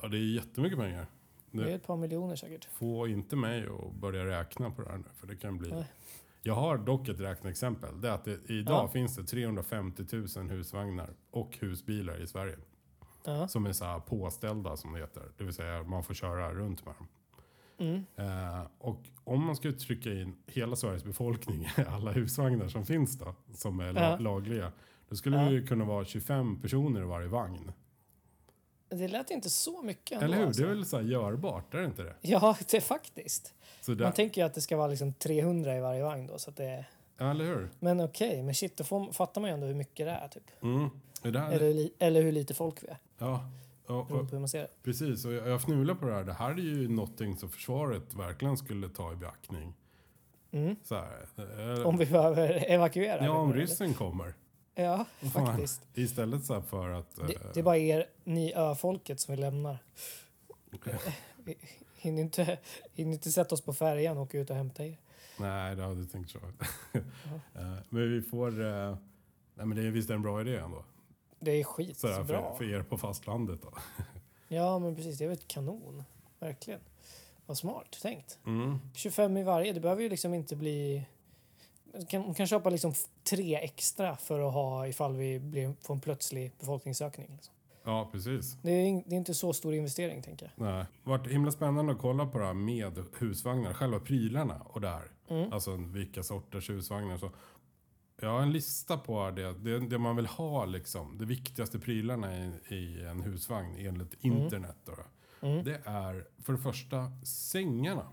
S4: Ja, det är jättemycket pengar.
S3: Det är
S4: Det,
S3: ett par miljoner säkert.
S4: få inte mig att börja räkna på det här nu, för det kan bli...
S3: Nej.
S4: Jag har dock ett räkneexempel. Det är att det, idag
S3: Ja.
S4: finns det 350 000 husvagnar och husbilar i Sverige.
S3: Ja.
S4: Som är så här påställda som det heter. Det vill säga man får köra runt med dem.
S3: Mm.
S4: Eh, och om man skulle trycka in hela Sveriges befolkning i alla husvagnar som finns då, som är la-
S3: Ja.
S4: lagliga. Då skulle det ju kunna vara 25 personer i varje vagn.
S3: Det lät inte så mycket ändå,
S4: Eller hur?
S3: Alltså.
S4: Det är väl så här görbart, är det inte det?
S3: Ja, det är faktiskt.
S4: Så där,
S3: Man tänker ju att det ska vara liksom 300 i varje vagn då. Så att det är...
S4: ja, eller hur?
S3: Men okej, men shit, då får, fattar man ju ändå hur mycket det är typ.
S4: Mm. Det där,
S3: Eller, li- eller hur lite folk vi är.
S4: Ja, ja
S3: Beroende
S4: och,
S3: på hur man ser det.
S4: precis. Och jag, jag fnular på det här. Det här är ju någonting som försvaret verkligen skulle ta i beaktning. Så här, eh,
S3: Om vi behöver evakuera.
S4: ja, om
S3: eller?
S4: ryssen kommer.
S3: Ja,
S4: Fan,
S3: faktiskt.
S4: Istället så här för att... eh,
S3: Det, det är bara er, ni öfolket som vi lämnar. Vi hinner inte, hinner inte sätta oss på färjan och åka ut och hämta er.
S4: Nej, det hade jag tänkt så. Eh, men vi får... eh, nej, men det är visst en bra idé ändå.
S3: Det är
S4: Så här,
S3: skitbra.
S4: för, för er på fastlandet då.
S3: Ja, men precis. Det är väl kanon. Verkligen. Vad smart tänkt.
S4: Mm.
S3: 25 i varje. Det behöver ju liksom inte bli... Man kan, man kan köpa liksom f- tre extra för att ha ifall vi blir, får en plötslig befolkningsökning. Liksom.
S4: Ja, precis.
S3: Det, är, in- det är inte så stor investering, tänker jag.
S4: Nej. Vart himla spännande att kolla på det här med husvagnar, själva prylarna och det här. Alltså vilka sorters husvagnar. Så jag har en lista på det, det, det man vill ha liksom. De viktigaste prylarna i, i en husvagn enligt internet. Då, Det är för det första sängarna.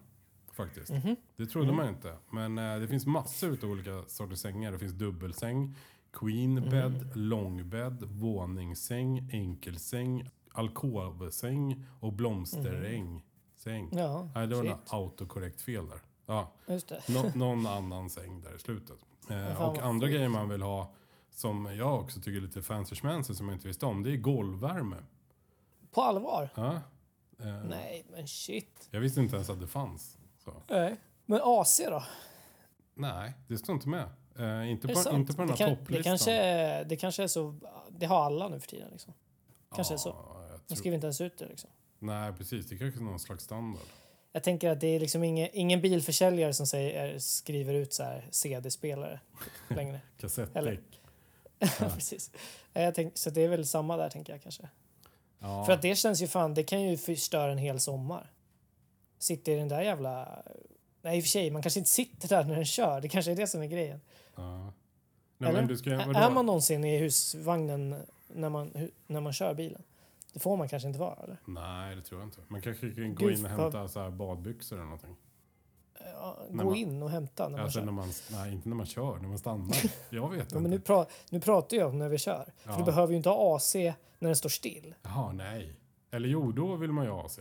S4: Faktiskt. Det trodde man inte. Men eh, det finns massor av olika sorters sängar. Det finns dubbelsäng, queenbed, långbädd, våningssäng, enkelsäng, alkovsäng och blomsteräng. Säng.
S3: Ja,
S4: Nej, det var
S3: Mm. shit.
S4: något autokorrekt fel där. Ja,
S3: Just det.
S4: nå- någon annan säng där i slutet.
S3: fan
S4: Eh, och
S3: vad
S4: andra grejer man vill ha som jag också tycker är lite fancy schmancy som jag inte visste om. Det är golvvärme.
S3: På allvar?
S4: Ja. Eh,
S3: Nej, men shit.
S4: jag visste inte ens att det fanns. Så.
S3: Nej. Men AC då?
S4: Nej, det står inte med. Eh, inte,
S3: Är det
S4: på,
S3: sant?
S4: inte på den här
S3: det, kan,
S4: topplistan.
S3: det, kanske är, det kanske är så... Det har alla nu för tiden. Liksom. kanske är så.
S4: Ja, jag
S3: De
S4: tror-
S3: skriver inte ens ut det. Liksom.
S4: Nej, precis. Det kanske är någon slags standard.
S3: Jag tänker att det är liksom ingen, ingen bilförsäljare som säger, skriver ut så här CD-spelare typ, längre. Eller-
S4: Kassettdäck.
S3: Precis. Nej, Jag tänk, så det är väl samma där tänker jag kanske.
S4: Ja.
S3: För att det känns ju fan, det kan ju förstöra en hel sommar. Sitta i den där jävla... Nej i och för sig, man kanske inte sitter där när den kör. Det kanske är det som är grejen.
S4: ja. Nej,
S3: Eller?
S4: men du ska,
S3: Ä-
S4: vadå?
S3: är man någonsin i husvagnen när man, hu- när man kör bilen? Det får man kanske inte vara eller?
S4: Nej, det tror jag inte. Man kanske kan gå
S3: Gud,
S4: in och
S3: vad-
S4: hämta så här badbyxor eller någonting.
S3: Ja, gå
S4: När man-
S3: in och hämta när man
S4: alltså
S3: kör.
S4: när man, nej, inte när man kör, när man stannar. Jag vet
S3: Ja, men nu,
S4: inte.
S3: pra, nu pratar jag om när vi kör. För
S4: Ja.
S3: du behöver ju inte ha AC när den står still.
S4: Jaha, nej. Eller jo, då vill man ju ha AC.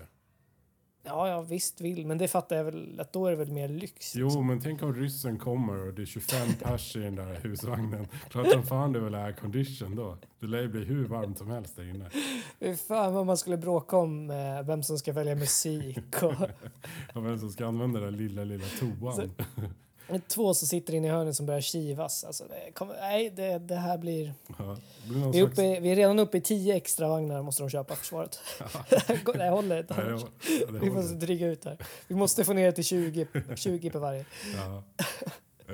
S3: Ja, jag visst vill, men det fattar jag väl att då är det väl mer lyx.
S4: Jo, men tänk om ryssen kommer och det är 25 pers i den där husvagnen. Klart som fan det väl är condition då. Det lär ju bli hur varmt som helst där inne.
S3: Fy fan vad man skulle bråka om eh, vem som ska välja musik och
S4: Och vem som ska använda den där lilla, lilla toan.
S3: två som sitter inne i hörnet som börjar kivas. Alltså, det kommer, nej, det, det här blir...
S4: Ja, det blir någon
S3: Vi är,
S4: slags...
S3: uppe, i- vi är redan uppe i tio extra vagnar måste de köpa försvaret. det här håller inte.
S4: Nej,
S3: annars.
S4: det- det
S3: Vi
S4: håller.
S3: måste dryga ut här. Vi måste få ner det till 20, 20 på varje.
S4: Ja.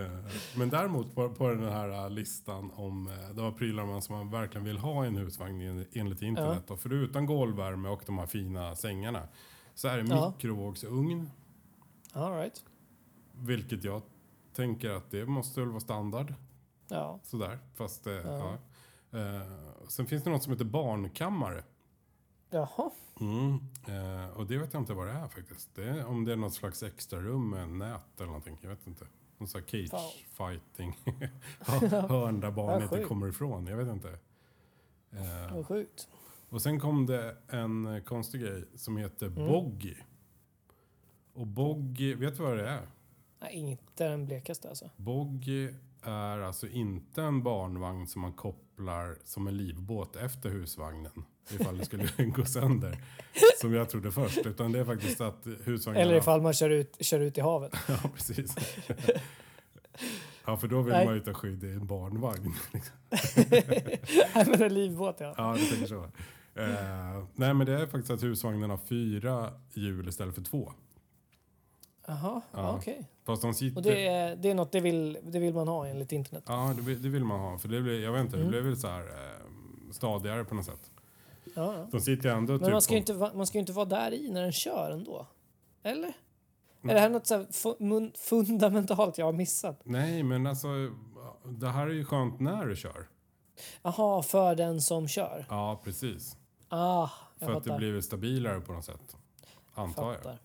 S4: Eh, Men däremot på, på den här eh, listan om eh, de här prylarna som man verkligen vill ha i en husvagn en- enligt internet. Då, förutom golvvärme och de här fina sängarna så är det
S3: Ja.
S4: mikrovågsugn.
S3: All right.
S4: Vilket jag tänker att det måste väl vara standard.
S3: Ja.
S4: Sådär. Fast, eh, ja. Eh, sen finns det något som heter barnkammare.
S3: Jaha.
S4: Mm. Eh, och det vet jag inte vad det är faktiskt. Det är, om det är något slags extra rum med nät eller någonting. Jag vet inte. Någon sån här cage
S3: Fan.
S4: fighting. Hör- Hörn där barn
S3: Vad
S4: inte
S3: sjukt.
S4: kommer ifrån. Jag vet inte. Eh,
S3: Vad sjukt.
S4: och sen kom det en eh, konstig grej som heter
S3: Mm.
S4: boggy. Och boggy, vet du vad det är?
S3: Nej, inte den blekaste alltså.
S4: Boggy är alltså inte en barnvagn som man kopplar som en livbåt efter husvagnen. Ifall det skulle gå sönder. Som jag trodde först. Utan det är faktiskt att husvagnen...
S3: Eller ifall man kör ut, kör ut i havet.
S4: Ja, precis. Ja, för då vill
S3: Nej.
S4: man ju ta skydd i en barnvagn. liksom.
S3: Nej, men en livbåt ja.
S4: Ja, du tänker så. Eh, nej, men det är faktiskt att husvagnen har fyra hjul istället för två.
S3: Jaha,
S4: Ja.
S3: okej.
S4: Fast de sitter...
S3: Och det är, det är något det vill, det vill man ha enligt internet.
S4: Ja, det vill, det vill man ha. För det blir, jag vet inte, det
S3: Mm.
S4: blir väl så här eh, stadigare på något sätt.
S3: Ja, ja.
S4: De sitter ju ändå typ
S3: Men man ska,
S4: på-
S3: ju inte, va- man ska ju inte vara där i när den kör ändå. Eller? Är det här något så här fu- mun- fundamentalt jag har missat?
S4: Nej, men alltså det här är ju skönt när du kör.
S3: Jaha, för den som kör.
S4: Ja, precis.
S3: Ah, jag
S4: För att det
S3: fattar.
S4: blir väl stabilare på något sätt. Antar jag.
S3: fattar.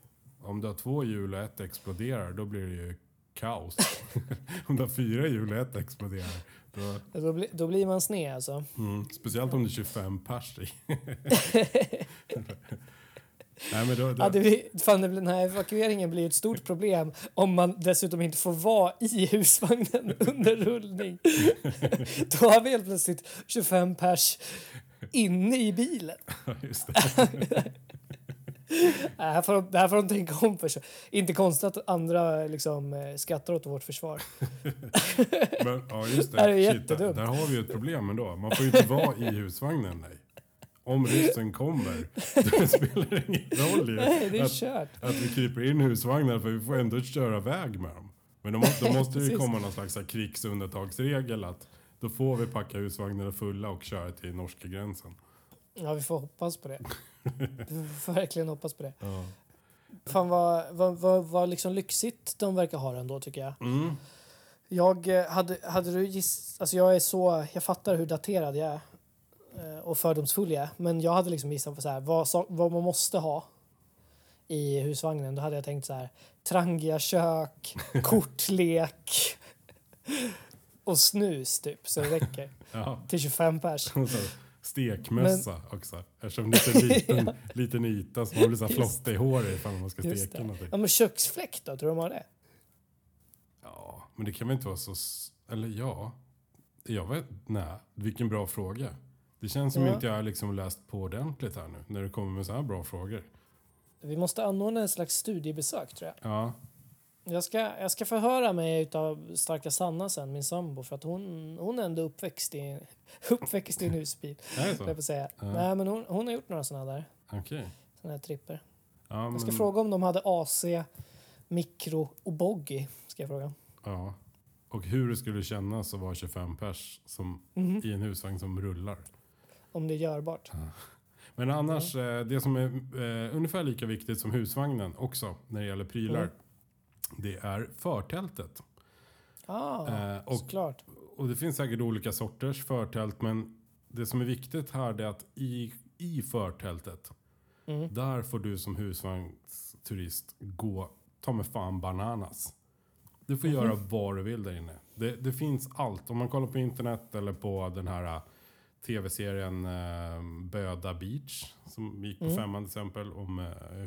S4: Om du har två hjul och ett exploderar, då blir det ju kaos. om du har fyra hjul och ett exploderar. Då,
S3: Då, bli, då blir man sned alltså.
S4: mm, speciellt om det är 25 pers i. Nej, men då, då,
S3: Ja, det, blir- fan, det, blir- den här evakueringen blir ju ett stort problem om man dessutom inte får vara i husvagnen under rullning. Då har vi helt plötsligt 25 pers inne i bilen.
S4: just det.
S3: Det Äh, här får de, det här får de tänka om. För sig. Inte konstigt att andra liksom, eh, skrattar åt vårt försvar.
S4: Men, ja, just det.
S3: Det här är
S4: Shit,
S3: jättedumt.
S4: Där har vi ju ett problem ändå. Man får ju inte vara i husvagnen, nej. Om ryssen kommer, då spelar det ingen roll ju.
S3: Nej, det är
S4: att,
S3: kört.
S4: att vi kryper in i husvagnar för vi får ändå köra väg med dem. Men då måste, då måste det ju
S3: Precis.
S4: komma någon slags så här krigsundantagsregel att då får vi packa husvagnarna fulla och köra till norska gränsen.
S3: Ja, vi får hoppas på det. Vi får verkligen hoppas på det. Fan vad, vad, vad, vad liksom lyxigt de verkar ha det ändå tycker jag.
S4: Mm.
S3: Jag eh, hade, hade du giss, alltså jag är så, jag fattar hur daterad jag är eh, och fördomsfull jag är. Men jag hade liksom gissat på så här, vad, sa- vad man måste ha i husvagnen. Då hade jag tänkt så här, Trangiakök, kortlek och snus typ så det räcker
S4: Ja.
S3: till 25 pers.
S4: Och så Stekmössa också. Eftersom det är en liten, liten yta så man blir så här
S3: Just
S4: flotta i håret ifall man ska
S3: Just
S4: steka
S3: det.
S4: någonting.
S3: Ja men köksfläkt då, tror du de har det?
S4: Ja, men det kan väl inte vara så... s- Eller ja. Jag vet Nej, vilken bra fråga. Det känns som
S3: Ja.
S4: inte jag har liksom läst på ordentligt här nu när du kommer med så här bra frågor.
S3: Vi måste anordna en slags studiebesök tror jag.
S4: Ja,
S3: Jag ska, jag ska förhöra mig utav starka Sanna sen, min sambo, för att hon, hon är ändå uppväxt i, uppväxt i en husbil.
S4: är det
S3: får
S4: så?
S3: Jag får säga.
S4: Ja.
S3: Nej, men hon, hon har gjort några sådana där,
S4: Okej.
S3: såna här tripper.
S4: Ja,
S3: Jag ska
S4: men-
S3: fråga om de hade AC, mikro och boggy. Ska jag fråga.
S4: Ja. Och hur det skulle kännas att vara 25 pers som,
S3: Mhm.
S4: i en husvagn som rullar.
S3: Om det är görbart.
S4: Men annars, eh, det som är eh, ungefär lika viktigt som husvagnen också när det gäller prylar,
S3: Mm.
S4: det är förtältet.
S3: Ah,
S4: Eh, och
S3: såklart.
S4: Och det finns säkert olika sorters förtält, men det som är viktigt här det är att i, i förtältet,
S3: Mm.
S4: där får du som husvagnsturist gå ta med fan bananas. Du får göra vad du vill där inne. Det, det finns allt. Om man kollar på internet eller på den här eh, tv-serien eh, Böda Beach som gick på femman till exempel om, eh,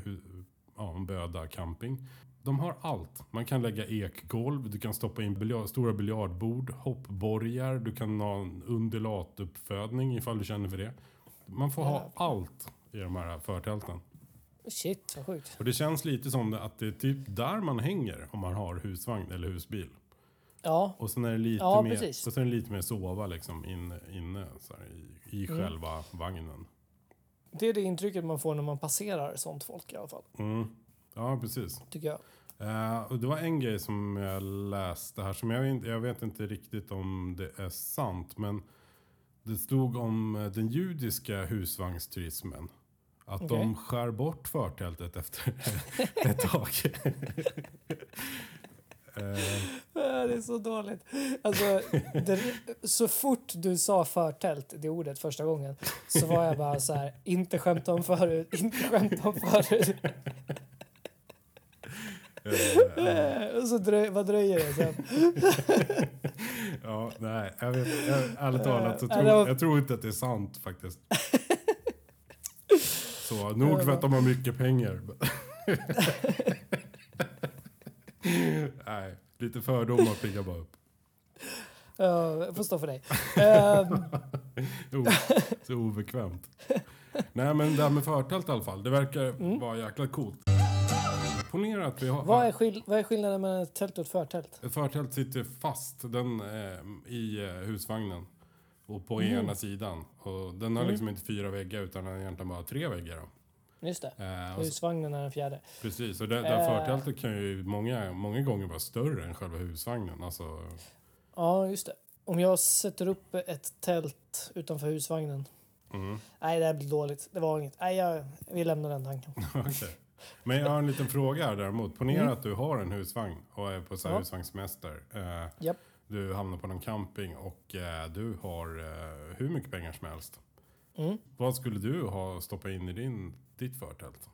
S4: hu- ja, om Böda camping. De har allt. Man kan lägga ekgolv, du kan stoppa in biljard, stora biljardbord, hoppborgar, du kan ha en undulatuppfödning ifall du känner för det. Man får ha allt i de här förtälten.
S3: Shit, vad sjukt.
S4: Och det känns lite som det- att det är typ där man hänger om man har husvagn eller husbil.
S3: Ja,
S4: Och sen är det lite,
S3: Ja,
S4: mer,
S3: precis.
S4: och sen är det lite mer sova liksom inne, inne så här, i, i
S3: Mm.
S4: själva vagnen.
S3: det är det intrycket man får när man passerar sånt folk i alla fall,
S4: Mm. Ja, precis.
S3: tycker jag.
S4: Eh, och det var en grej som jag läste här som jag, inte- jag vet inte riktigt om det är sant. Men det stod om eh, den judiska husvagnsturismen. Att de
S3: Okej.
S4: skär bort förtältet efter ett tag. Eh,
S3: Ah, Det är så dåligt. Alltså, det, så fort du sa förtält, det ordet, första gången så var jag bara så här, inte skämta om förut, inte skämta om förut. Äh, Och så dröj, vad dröjer det sen?
S4: ja, nej, jag vet, jag, ärligt talat så
S3: Eh,
S4: tror,
S3: det var-
S4: jag tror inte att det är sant faktiskt. Så, nog för att de har mycket pengar. nej, lite fördomar piggar bara upp.
S3: Ja, jag får stå för dig. Ehm,
S4: O, så obekvämt. Nej, men det här med förtält i alla fall, det verkar vara jäkla coolt. Ponera att vi har...
S3: Mm. vad, är skill- vad är skillnaden mellan ett tält och ett förtält?
S4: Ett förtält sitter fast den, eh, i eh, husvagnen. Och på
S3: Mm.
S4: ena sidan. Och den har liksom inte fyra väggar utan den har egentligen bara tre väggar. Då.
S3: Just det.
S4: Eh, och så,
S3: Husvagnen är den fjärde.
S4: precis, och det, det här
S3: Eh.
S4: förtältet kan ju många, många gånger vara större än själva husvagnen. Alltså,
S3: Ja, just det. Om jag sätter upp ett tält utanför husvagnen.
S4: mm,
S3: Nej, det här blir dåligt. Det var inget. Nej, jag, vi lämnar den tanken.
S4: okej. Men jag har en liten fråga här däremot. Ponera att du har en husvagn och är på så
S3: Mm.
S4: här
S3: Ja.
S4: husvagnssemester. Eh,
S3: Japp.
S4: Du hamnar på någon camping och eh, du har eh, hur mycket pengar som helst.
S3: Mm.
S4: Vad skulle du ha stoppat in i din, ditt förtält?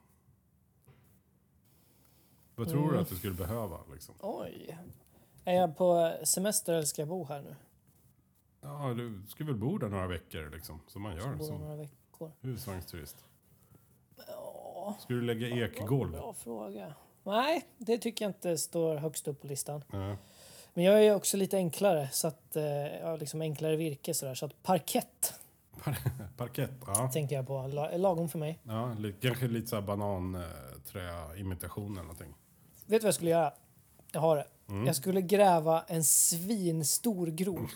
S4: Vad tror du
S3: Mm.
S4: att du skulle behöva? Liksom?
S3: Oj. Är jag på semester eller ska jag bo här nu?
S4: Ja, du ska väl bo där några veckor liksom, som man
S3: Ska
S4: gör
S3: bo här
S4: som
S3: några veckor.
S4: husvagnsturist.
S3: Ja,
S4: Ska du lägga ekgolv?
S3: bra fråga. Nej, det tycker jag inte står högst upp på listan.
S4: Ja.
S3: Men jag är också lite enklare, så att, eh, ja, liksom enklare virke sådär. Så att parkett
S4: Par- Parkett? Ja.
S3: tänker jag på. La- är Lagom för mig.
S4: ja li- kanske lite såhär bananträimitation eller någonting.
S3: Vet du vad jag skulle göra? Jag har det. Jag skulle gräva en svinstor grop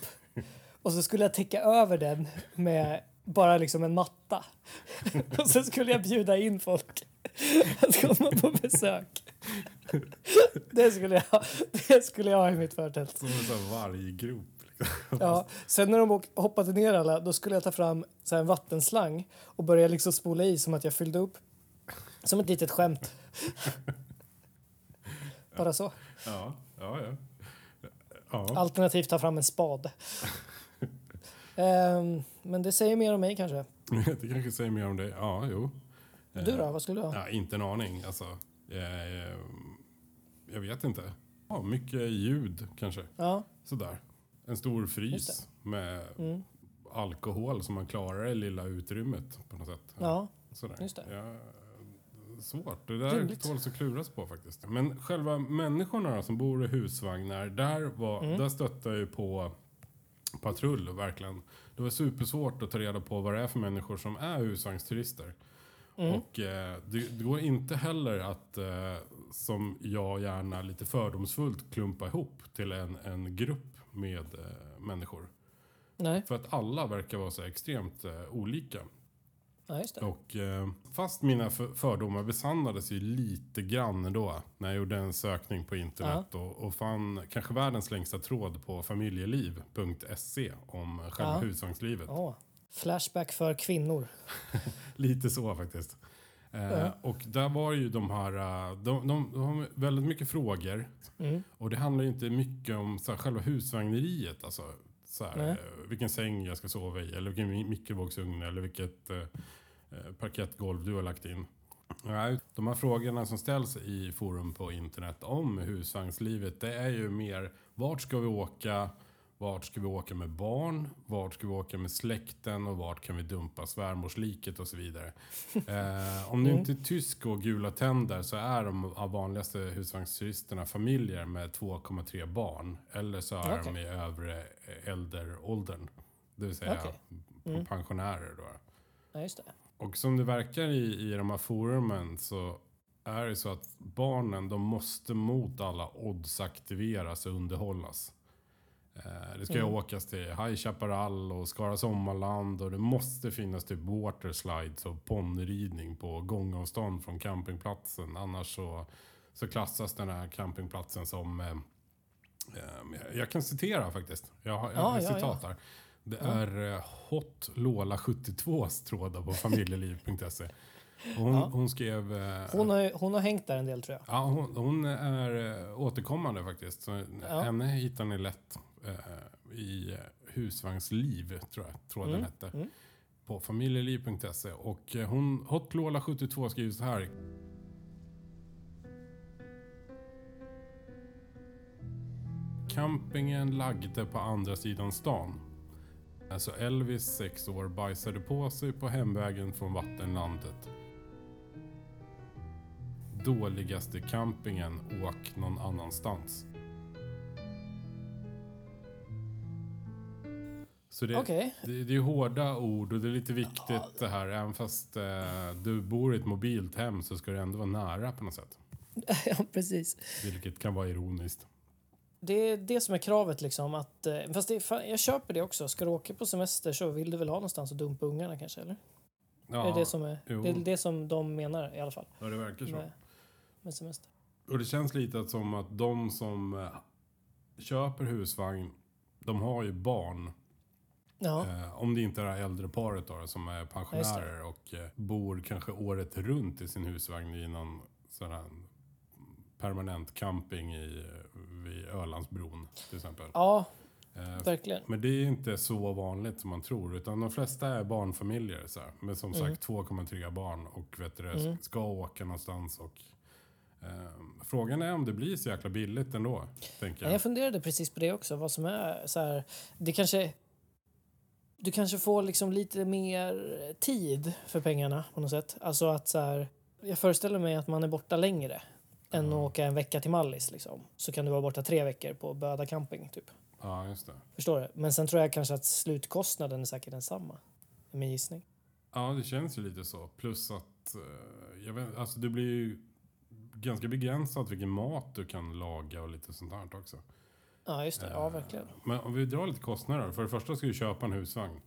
S3: och så skulle jag täcka över den med bara liksom en matta. Och så skulle jag bjuda in folk att komma på besök. Det skulle jag, det skulle jag ha i mitt förtält.
S4: Som en sån här varggrop. Liksom.
S3: Ja. Sen när de åk- hoppade ner alla, då skulle jag ta fram så här en vattenslang och börja liksom spola i som att jag fyllde upp. Som ett litet skämt. Bara så.
S4: Ja, ja, ja. ja.
S3: Alternativt ta fram en spade. Ehm, men det säger mer om mig kanske.
S4: Det kanske säger mer om dig. Ja, jo.
S3: Du
S4: Eh,
S3: då? Vad skulle du ha?
S4: Ja, inte en aning. Alltså, eh, jag vet inte. Ja, mycket ljud kanske.
S3: Ja,
S4: Sådär. En stor
S3: Just
S4: frys med
S3: mm.
S4: alkohol som man klarar det lilla utrymmet på något sätt.
S3: ja.
S4: Sådär.
S3: just det.
S4: Ja, svårt. Det där
S3: Rimligt.
S4: tåls att kluras på faktiskt. Men själva människorna då, som bor i husvagnar, där, var,
S3: Mm.
S4: där stötte jag ju på patrull verkligen. Det var supersvårt att ta reda på vad det är för människor som är husvagnsturister.
S3: Mm.
S4: Och eh, det, det går inte heller att, eh, som jag gärna lite fördomsfullt klumpa ihop till en, en grupp med eh, människor.
S3: Nej,
S4: För att alla verkar vara så extremt eh, olika.
S3: ja, just det.
S4: Och eh, fast mina för- fördomar besannades ju lite grann då när jag gjorde en sökning på internet och, och fann kanske världens längsta tråd på familjeliv.se om själva
S3: Ja.
S4: husvagnslivet.
S3: Ja. Flashback för kvinnor.
S4: Lite så faktiskt. Eh, Och där var ju de här, eh, de, de, de har väldigt mycket frågor.
S3: Mm.
S4: Och det handlar ju inte mycket om så här, själva husvagneriet. Alltså, så här,
S3: Nej.
S4: eh, vilken säng jag ska sova i, eller vilken mi- mikrovågsugn, eller vilket eh, eh, parkettgolv du har lagt in. Nej, de här frågorna som ställs i forum på internet om husvagnslivet, det är ju mer vart ska vi åka, vart ska vi åka med barn, vart ska vi åka med släkten och vart kan vi dumpa svärmorsliket och så vidare. Eh, om du inte är tysk och gula tänder så är de av vanligaste husvagnsturisterna familjer med 2,3 barn. Eller så är de
S3: Okej.
S4: i övre äldreåldern. Det vill säga
S3: Okej. Mm.
S4: pensionärer då.
S3: Ja, just det.
S4: Och som det verkar i, i de här forumen så är det så att barnen de måste mot alla odds aktiveras och underhållas. Eh, det ska
S3: Mm.
S4: ju åkas till High Chaparral och Skara Sommarland och det måste finnas typ waterslides och ponnridning på gångavstånd från campingplatsen. Annars så så klassas den här campingplatsen som... Eh, eh, jag kan citera faktiskt. Jag har, jag
S3: Ja,
S4: har
S3: ja,
S4: citat här. Det är eh, Hot Lola 72s trådar på familjeliv.se. Hon, hon skrev... eh,
S3: Hon har, ju- hon har hängt där en del tror jag.
S4: Ja, hon, hon är eh, återkommande faktiskt. Så eh, Henne hittar ni lätt eh, i eh, Husvagnsliv, tror jag tråden
S3: Mm.
S4: hette. På familjeliv.se. Och eh, hon, Hotlola72 skriver så här. Campingen lagde på andra sidan stan. Alltså Elvis, sex år, bajsade på sig på hemvägen från vattenlandet. Dåligaste campingen, åk någon annanstans. Så det,
S3: Okej.
S4: det, det är hårda ord och det är lite viktigt det här. Även fast eh, du bor i ett mobilt hem så ska du ändå vara nära på något sätt.
S3: ja, precis.
S4: Vilket kan vara ironiskt.
S3: Det är det som är kravet. Liksom, att, eh, fast det är, fan- jag köper det också. Ska du åka på semester så vill du väl ha någonstans att dumpa ungarna kanske? Eller?
S4: Ja,
S3: Det är det som, är,
S4: jo.
S3: det är det som de menar i alla fall
S4: ja, det verkar så.
S3: med, med semester.
S4: Och det känns lite att som att de som eh, köper husvagn, de har ju barn.
S3: Ja,
S4: Eh, om det inte är det här äldre paret då, som är pensionärer och eh, bor kanske året runt i sin husvagn i någon sån här permanent camping i, eh, vid Ölandsbron till exempel.
S3: ja
S4: Eh,
S3: verkligen.
S4: men det är inte så vanligt som man tror. Utan de flesta är barnfamiljer. Så här. Men som sagt 2,3 barn och vet du, det, ska åka någonstans. Och, eh, frågan är om det blir så jäkla billigt ändå. Tänker
S3: Nej,
S4: jag.
S3: Jag funderade precis på det också. Vad som är så här, det kanske, du kanske får liksom lite mer tid för pengarna på något sätt. Alltså att så här, jag föreställer mig att man är borta längre än att åka en vecka till Mallis. Liksom. Så kan du vara borta tre veckor på Böda camping. Typ.
S4: Ja, just det.
S3: Förstår du? Men sen tror jag kanske att slutkostnaden är säkert densamma. Är min gissning.
S4: Ja, det känns ju lite så. Plus att eh, jag vet, alltså det blir ju ganska begränsat vilken mat du kan laga och lite sånt här också.
S3: Ja, just det. Ja, verkligen.
S4: Men om vi drar lite kostnader. då. För det första ska du köpa en husvagn.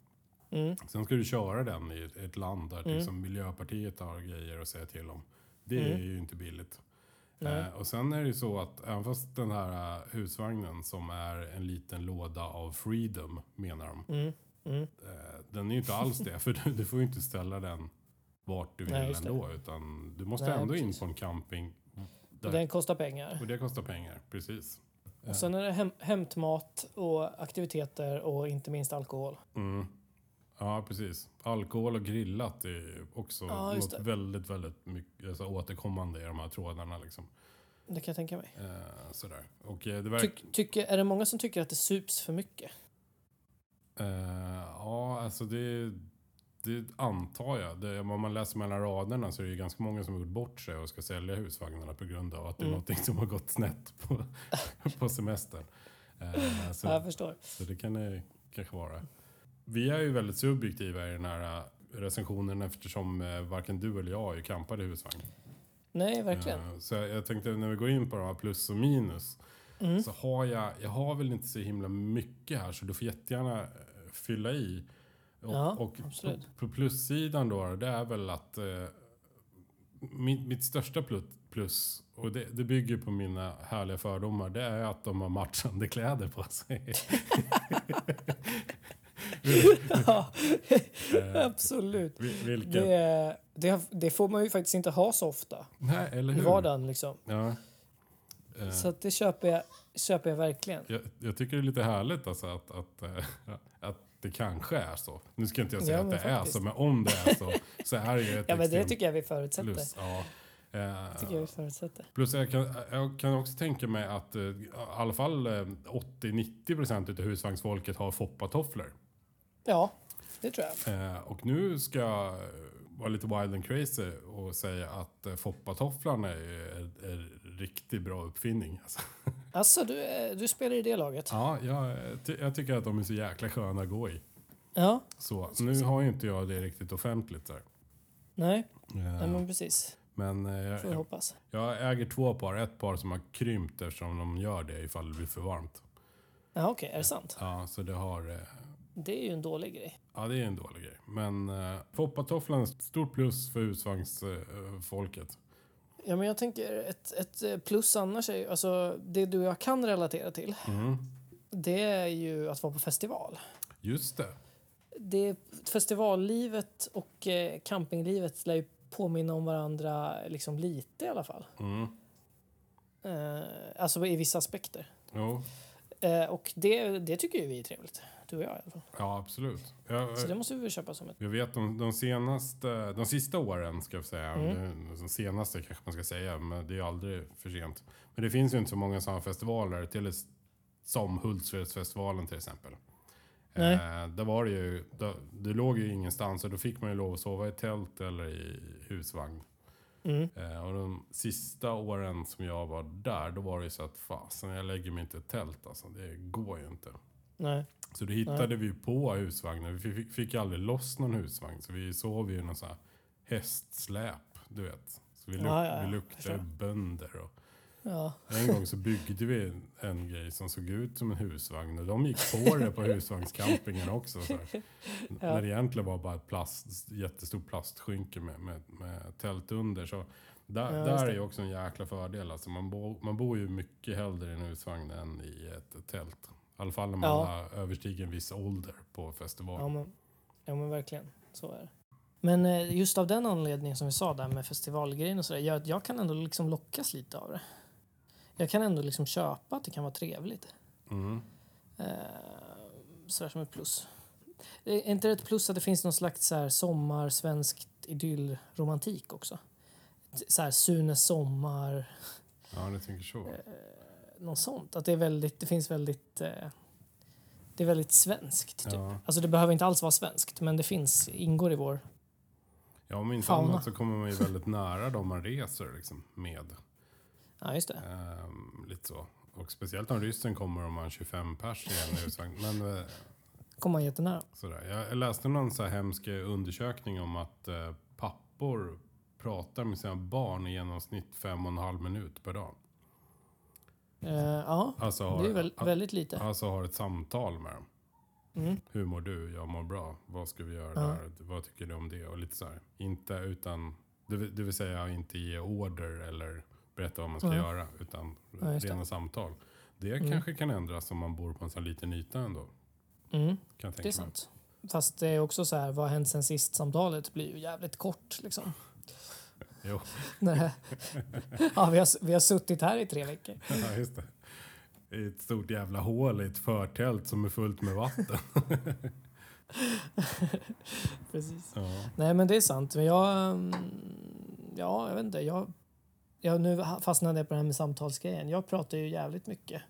S3: Mm.
S4: Sen ska du köra den i ett- ett land där liksom Miljöpartiet har grejer att säga till om. Det
S3: Mm.
S4: är ju inte billigt. Eh, och sen är det ju så att även fast den här eh, husvagnen som är en liten låda av freedom menar de.
S3: mm,
S4: Eh, den är ju inte alls det. För du, du får ju inte ställa den vart du vill
S3: Nej, just det.
S4: ändå. Utan du måste
S3: Nej,
S4: ändå in
S3: precis.
S4: på en camping. Där.
S3: Den kostar pengar.
S4: Och det kostar pengar, precis.
S3: Och sen är det hem, hämtmat och aktiviteter och inte minst alkohol.
S4: Mm. Ja, precis. Alkohol och grillat är också
S3: Ja, just
S4: något
S3: det.
S4: väldigt, väldigt mycket, alltså, återkommande i de här trådarna. Liksom.
S3: Det kan jag tänka mig.
S4: Eh, sådär. Och eh, det verkar...
S3: Tyck, tycker, är det många som tycker att det sups för mycket?
S4: Eh, ja, alltså det, det antar jag. Det, om man läser mellan raderna så är det ju ganska många som har gjort bort sig och ska sälja husvagnarna på grund av att
S3: Mm.
S4: det är någonting som har gått snett på, på semestern. Eh, så,
S3: Ja, jag förstår.
S4: Så det kan det kanske vara. Vi är ju väldigt subjektiva i den här eh, recensionen eftersom eh, varken du eller jag är ju campade i husvagn.
S3: Nej, verkligen.
S4: Eh, Så jag jag tänkte när vi går in på de här plus och minus.
S3: Mm.
S4: Så har jag, jag har väl inte så himla mycket här så du får jättegärna eh, fylla i. Och,
S3: Ja,
S4: och på,
S3: absolut.
S4: på plussidan då, det är väl att eh, mitt, mitt största plus, plus och det, det bygger på mina härliga fördomar, det är att de har matchande kläder på sig. Eh,
S3: Absolut.
S4: Vil- Vilket...
S3: Det, det, det får man ju faktiskt inte ha så ofta
S4: Nej, eller
S3: i
S4: hur?
S3: vardagen. Liksom.
S4: Ja. Eh,
S3: Så att det köper jag, köper jag verkligen.
S4: jag, jag tycker det är lite härligt alltså att, att, eh, att det kanske är så. Nu ska inte jag säga
S3: Ja,
S4: att det
S3: men
S4: är
S3: faktiskt.
S4: så, men om det är så så är det ju ett
S3: Ja, men det
S4: extremt
S3: tycker jag vi förutsätter.
S4: plus. Ja. Eh,
S3: Tycker jag vi förutsätter.
S4: Plus jag kan, jag kan också tänka mig att eh, i alla fall eh, 80-90% av husvagnsfolket har foppatofflor.
S3: Ja, det tror jag.
S4: Eh, och nu ska jag eh, vara lite wild and crazy och säga att eh, foppatofflarna är ju en- en riktigt bra uppfinning. Alltså.
S3: Alltså, du, är- du spelar i det laget.
S4: Ja, jag, ty- jag tycker att de är så jäkla sköna att gå i.
S3: Ja,
S4: Så, nu har ju inte jag det riktigt offentligt där.
S3: nej, nej
S4: Eh,
S3: men precis.
S4: Men eh,
S3: Får vi
S4: jag,
S3: hoppas.
S4: jag äger två par. Ett par som har krympt eftersom de gör det ifall det blir för varmt.
S3: Ja, okej, är det sant?
S4: Ja, så det har... eh,
S3: Det är ju en dålig grej.
S4: Ja, det är en dålig grej. Men eh, foppatofflan är ett stort plus för husvagnsfolket. Eh, folket.
S3: Ja, men jag tänker ett, ett eh, plus annars är ju, alltså det du och jag kan relatera till. Det är ju att vara på festival.
S4: Just det.
S3: Det, festivallivet och eh, campinglivet lär ju påminna om varandra liksom lite i alla fall.
S4: Mm.
S3: Eh, alltså i vissa aspekter.
S4: Jo.
S3: Eh, och det, det tycker ju vi är trevligt. Du och jag i alla fall.
S4: Ja, absolut. Jag,
S3: Så det måste vi väl köpa som ett...
S4: jag vet de, de senaste, de sista åren ska jag säga, mm. de senaste kanske man ska säga, men det är ju aldrig för sent. Men det finns ju inte så många sådana festivaler, till, som Hultsfredsfestivalen till exempel.
S3: Nej.
S4: Eh, där var det ju, då, det låg ju ingenstans och då fick man ju lov att sova i tält eller i husvagn.
S3: Mm.
S4: Eh, och de sista åren som jag var där, då var det ju så att fasen, jag lägger mig inte i tält alltså. Det går ju inte.
S3: Nej.
S4: Så då hittade vi på husvagnar. Vi fick, fick aldrig loss någon husvagn. Så vi sov ju i någon sån här hästsläp, du vet. Så vi, luk-
S3: Ja, ja, ja.
S4: vi
S3: Förstår.
S4: luktade bönder. Och
S3: Ja.
S4: en gång så byggde vi en, en grej som såg ut som en husvagn. Och de gick på det på husvagnscampingen också. Så här. När det egentligen var bara ett plast, jättestort plastskynke med, med, med tält under. Så där,
S3: Ja, just
S4: där
S3: det.
S4: är ju också en jäkla fördel. Alltså man, bo, man bor ju mycket hellre i en husvagn än i ett tält. I alla fall när man
S3: Ja.
S4: har överstiger en viss ålder på festival.
S3: Ja men, ja, men verkligen. Så är det. Men eh, just av den anledningen som vi sa där med festivalgrejen och sådär, jag, jag kan ändå liksom lockas lite av det. Jag kan ändå liksom köpa att det kan vara trevligt.
S4: Mm.
S3: Eh, sådär som ett plus. Det- Är inte det ett plus att det finns någon slags så här sommar, svenskt idyllromantik också? Så här Sunes sommar, eh,
S4: Ja, du tänker så.
S3: något sånt. Att det, är väldigt, det finns väldigt... Eh, det är väldigt svenskt. Typ.
S4: Ja.
S3: Alltså det behöver inte alls vara svenskt, men det finns, ingår i vår
S4: Ja, om inte
S3: Fauna.
S4: annat så kommer man ju väldigt nära dem man reser liksom, med.
S3: Ja, just det.
S4: Ehm, lite så. Och speciellt om ryssen kommer om man 25 pers i en husvagn. Men eh,
S3: Kom man jättenära.
S4: sådär. Jag läste någon så här hemsk undersökning om att eh, pappor pratar med sina barn i genomsnitt fem och en halv minut per dag.
S3: Eh, ja,
S4: Alltså
S3: det
S4: har,
S3: är väl,
S4: a-
S3: väldigt lite.
S4: alltså har ett samtal med dem.
S3: Mm.
S4: Hur mår du? Jag mår bra. Vad ska vi göra
S3: Ja.
S4: där? Vad tycker du om det? Och lite så här. Inte utan, det vill, det vill säga inte ge order eller berätta vad man ska
S3: Nej.
S4: göra. Utan
S3: Ja, just det.
S4: rena samtal. Det kanske kan ändras om man bor på en sån här liten yta ändå.
S3: Mm,
S4: Kan jag tänka
S3: det är
S4: mig.
S3: sant. Fast det är också så här, vad har hänt sen sist samtalet blir ju jävligt kort liksom.
S4: Jo,
S3: Nej. ja, vi, har, vi har suttit här i tre veckor.
S4: ja, just det. I ett stort jävla hål i ett förtält som är fullt med vatten.
S3: Precis.
S4: ja.
S3: Nej, men det är sant. Men jag... mm, Ja, jag vet inte. Jag, jag, nu fastnade jag på det här med samtalsgrejen. Jag pratar ju jävligt mycket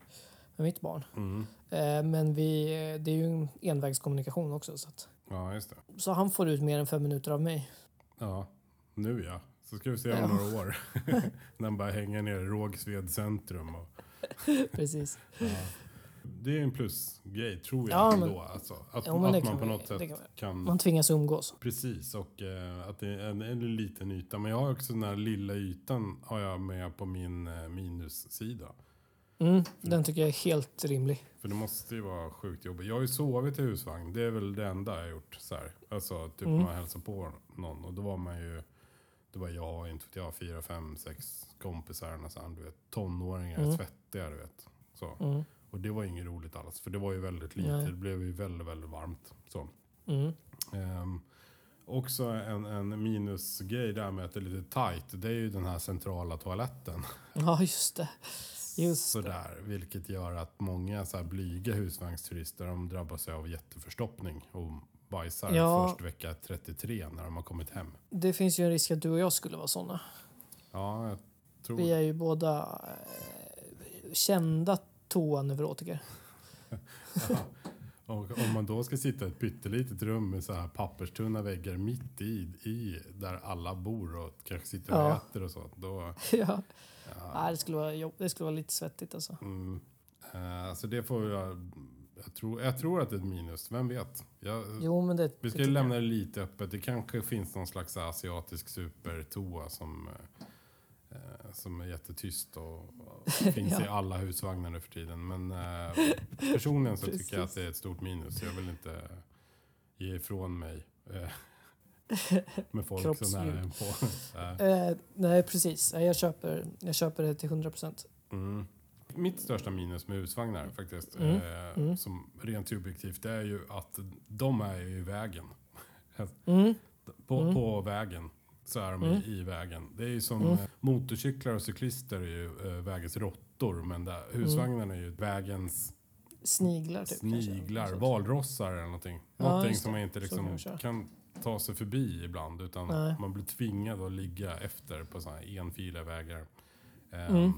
S3: med mitt barn.
S4: Mm.
S3: Eh, men vi, det är ju en envägskommunikation också. Så, att,
S4: ja, just det.
S3: så han får ut mer än fem minuter av mig.
S4: Ja, nu ja. Så ska vi se om
S3: Ja.
S4: några år. När man bara hänger ner i Rågsved centrum. Och,
S3: Precis.
S4: det är en plusgrej tror jag
S3: Ja,
S4: ändå.
S3: men-
S4: alltså. Att,
S3: Ja, men det
S4: att man
S3: kan
S4: på
S3: vi-
S4: något
S3: det
S4: sätt
S3: kan vi-
S4: kan...
S3: Man tvingas umgås.
S4: Precis, och eh, att det är en, en liten yta. Men jag har också den här lilla ytan har jag med på min eh, minussida.
S3: Mm, den tycker jag är helt rimlig.
S4: För det måste ju vara sjukt jobbigt. Jag har ju sovit i husvagn. Det är väl det enda jag har gjort. Så här. Alltså typ
S3: Mm.
S4: man hälsar på någon. Och då var man ju... Det var jag, inte vet jag, fyra, fem, sex kompisar. Nästan, du vet, tonåringar,
S3: Mm.
S4: svettiga, du vet. Så.
S3: Mm,
S4: Och det var ju inget roligt alls. För det var ju väldigt lite.
S3: Nej.
S4: Det blev ju väldigt, väldigt varmt. Så.
S3: mm,
S4: Ehm, också en, en minusgrej där med att det är lite tight. Det är ju den här centrala toaletten.
S3: ja, just det. Just
S4: Sådär, vilket gör att många så här blyga husvagnsturister de drabbas ju av jätteförstoppning och bajsar
S3: Ja.
S4: först vecka 33 när de har kommit hem.
S3: Det finns ju en risk att du och jag skulle vara såna.
S4: Ja, jag tror...
S3: Vi är ju båda eh, kända toaneurotiker.
S4: Och om man då ska sitta i ett pyttelitet rum med så här papperstunna väggar mitt i, i där alla bor och kanske sitter och
S3: Ja.
S4: äter och så. Då,
S3: ja. Nej, det, skulle vara jobb- det skulle vara lite svettigt alltså.
S4: Mm. Eh, så det får jag... Jag tror, jag tror att det är ett minus, vem vet? Jag,
S3: Jo, men det...
S4: vi ska
S3: det
S4: ju
S3: tycker
S4: lämna det lite öppet. Det kanske finns någon slags asiatisk supertoa som, eh, eh, som är jättetyst och, och finns i alla husvagnar nu för tiden. Men eh, personligen så tycker jag att det är ett stort minus. Jag vill inte ge ifrån mig eh, Med folk så
S3: Kroppsdjur.
S4: nära en på. Ja.
S3: Eh, nej, precis. Nej, Jag köper, jag köper det till 100 procent.
S4: Mm. Mitt största minus med husvagnar faktiskt,
S3: Mm,
S4: Eh, som rent subjektivt, det är ju att de är ju i vägen.
S3: Mm. Mm.
S4: På, på vägen så är de i- i vägen. Det är ju som eh, motorcyklar och cyklister är ju eh, vägens råttor, men där,
S3: Mm.
S4: husvagnarna är ju vägens
S3: Sniglar, typ. kanske.
S4: sniglar, valrossar eller någonting.
S3: Ja,
S4: någonting
S3: just
S4: som man inte
S3: kan
S4: liksom
S3: man köra.
S4: kan ta sig förbi ibland utan
S3: Nej.
S4: man blir tvingad att ligga efter på sådana här enfiliga vägar. Ehm,
S3: Mm.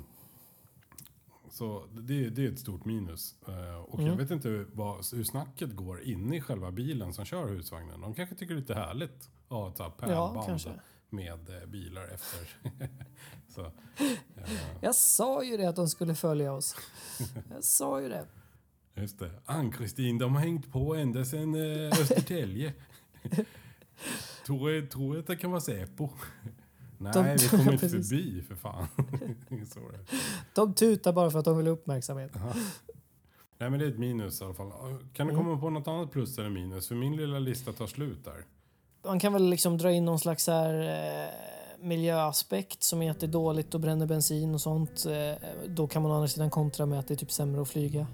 S4: Så det, det är ett stort minus. Eh, och
S3: Mm.
S4: jag vet inte hur, vad, hur snacket går inne i själva bilen som kör husvagnen. De kanske tycker det är lite härligt att ha ett så här pärlband
S3: kanske.
S4: med eh, bilar efter. så,
S3: Jag sa ju det att de skulle följa oss. Jag sa ju det.
S4: just det. Ann-Kristin, de har hängt på ända sedan eh, Östertälje. tror, jag, tror jag att det kan vara Säpo. Nej,
S3: De-
S4: vi kommer inte
S3: precis.
S4: förbi för fan. så är det.
S3: De tutar bara för att de vill ha uppmärksamhet.
S4: Nej, men det är ett minus i alla fall. Kan du
S3: Mm.
S4: komma på något annat plus eller minus? För min lilla lista tar slut där.
S3: Man kan väl liksom dra in någon slags så här, eh, miljöaspekt som är att det är dåligt och bränner bensin och sånt. Eh, då kan man å andra sidan kontra med att det är typ sämre att flyga.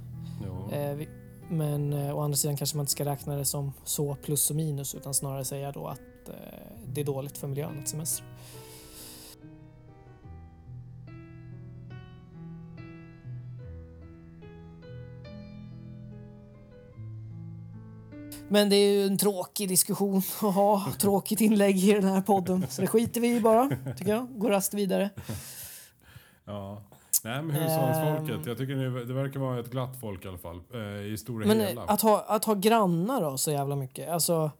S4: Ja.
S3: Eh, vi- Men eh, å andra sidan kanske man inte ska räkna det som så plus och minus utan snarare säga då att eh, det är dåligt för miljön att semestra. Men det är ju en tråkig diskussion att ha, tråkigt inlägg i den här podden. Så det skiter vi i bara, tycker jag. Går rast vidare.
S4: ja. Nej, men
S3: Eh.
S4: husvagnsfolket. Jag tycker det, det verkar vara ett glatt folk i alla fall. Eh, I stora
S3: Men eh,
S4: hela.
S3: att ha, att ha grannar då så jävla mycket, alltså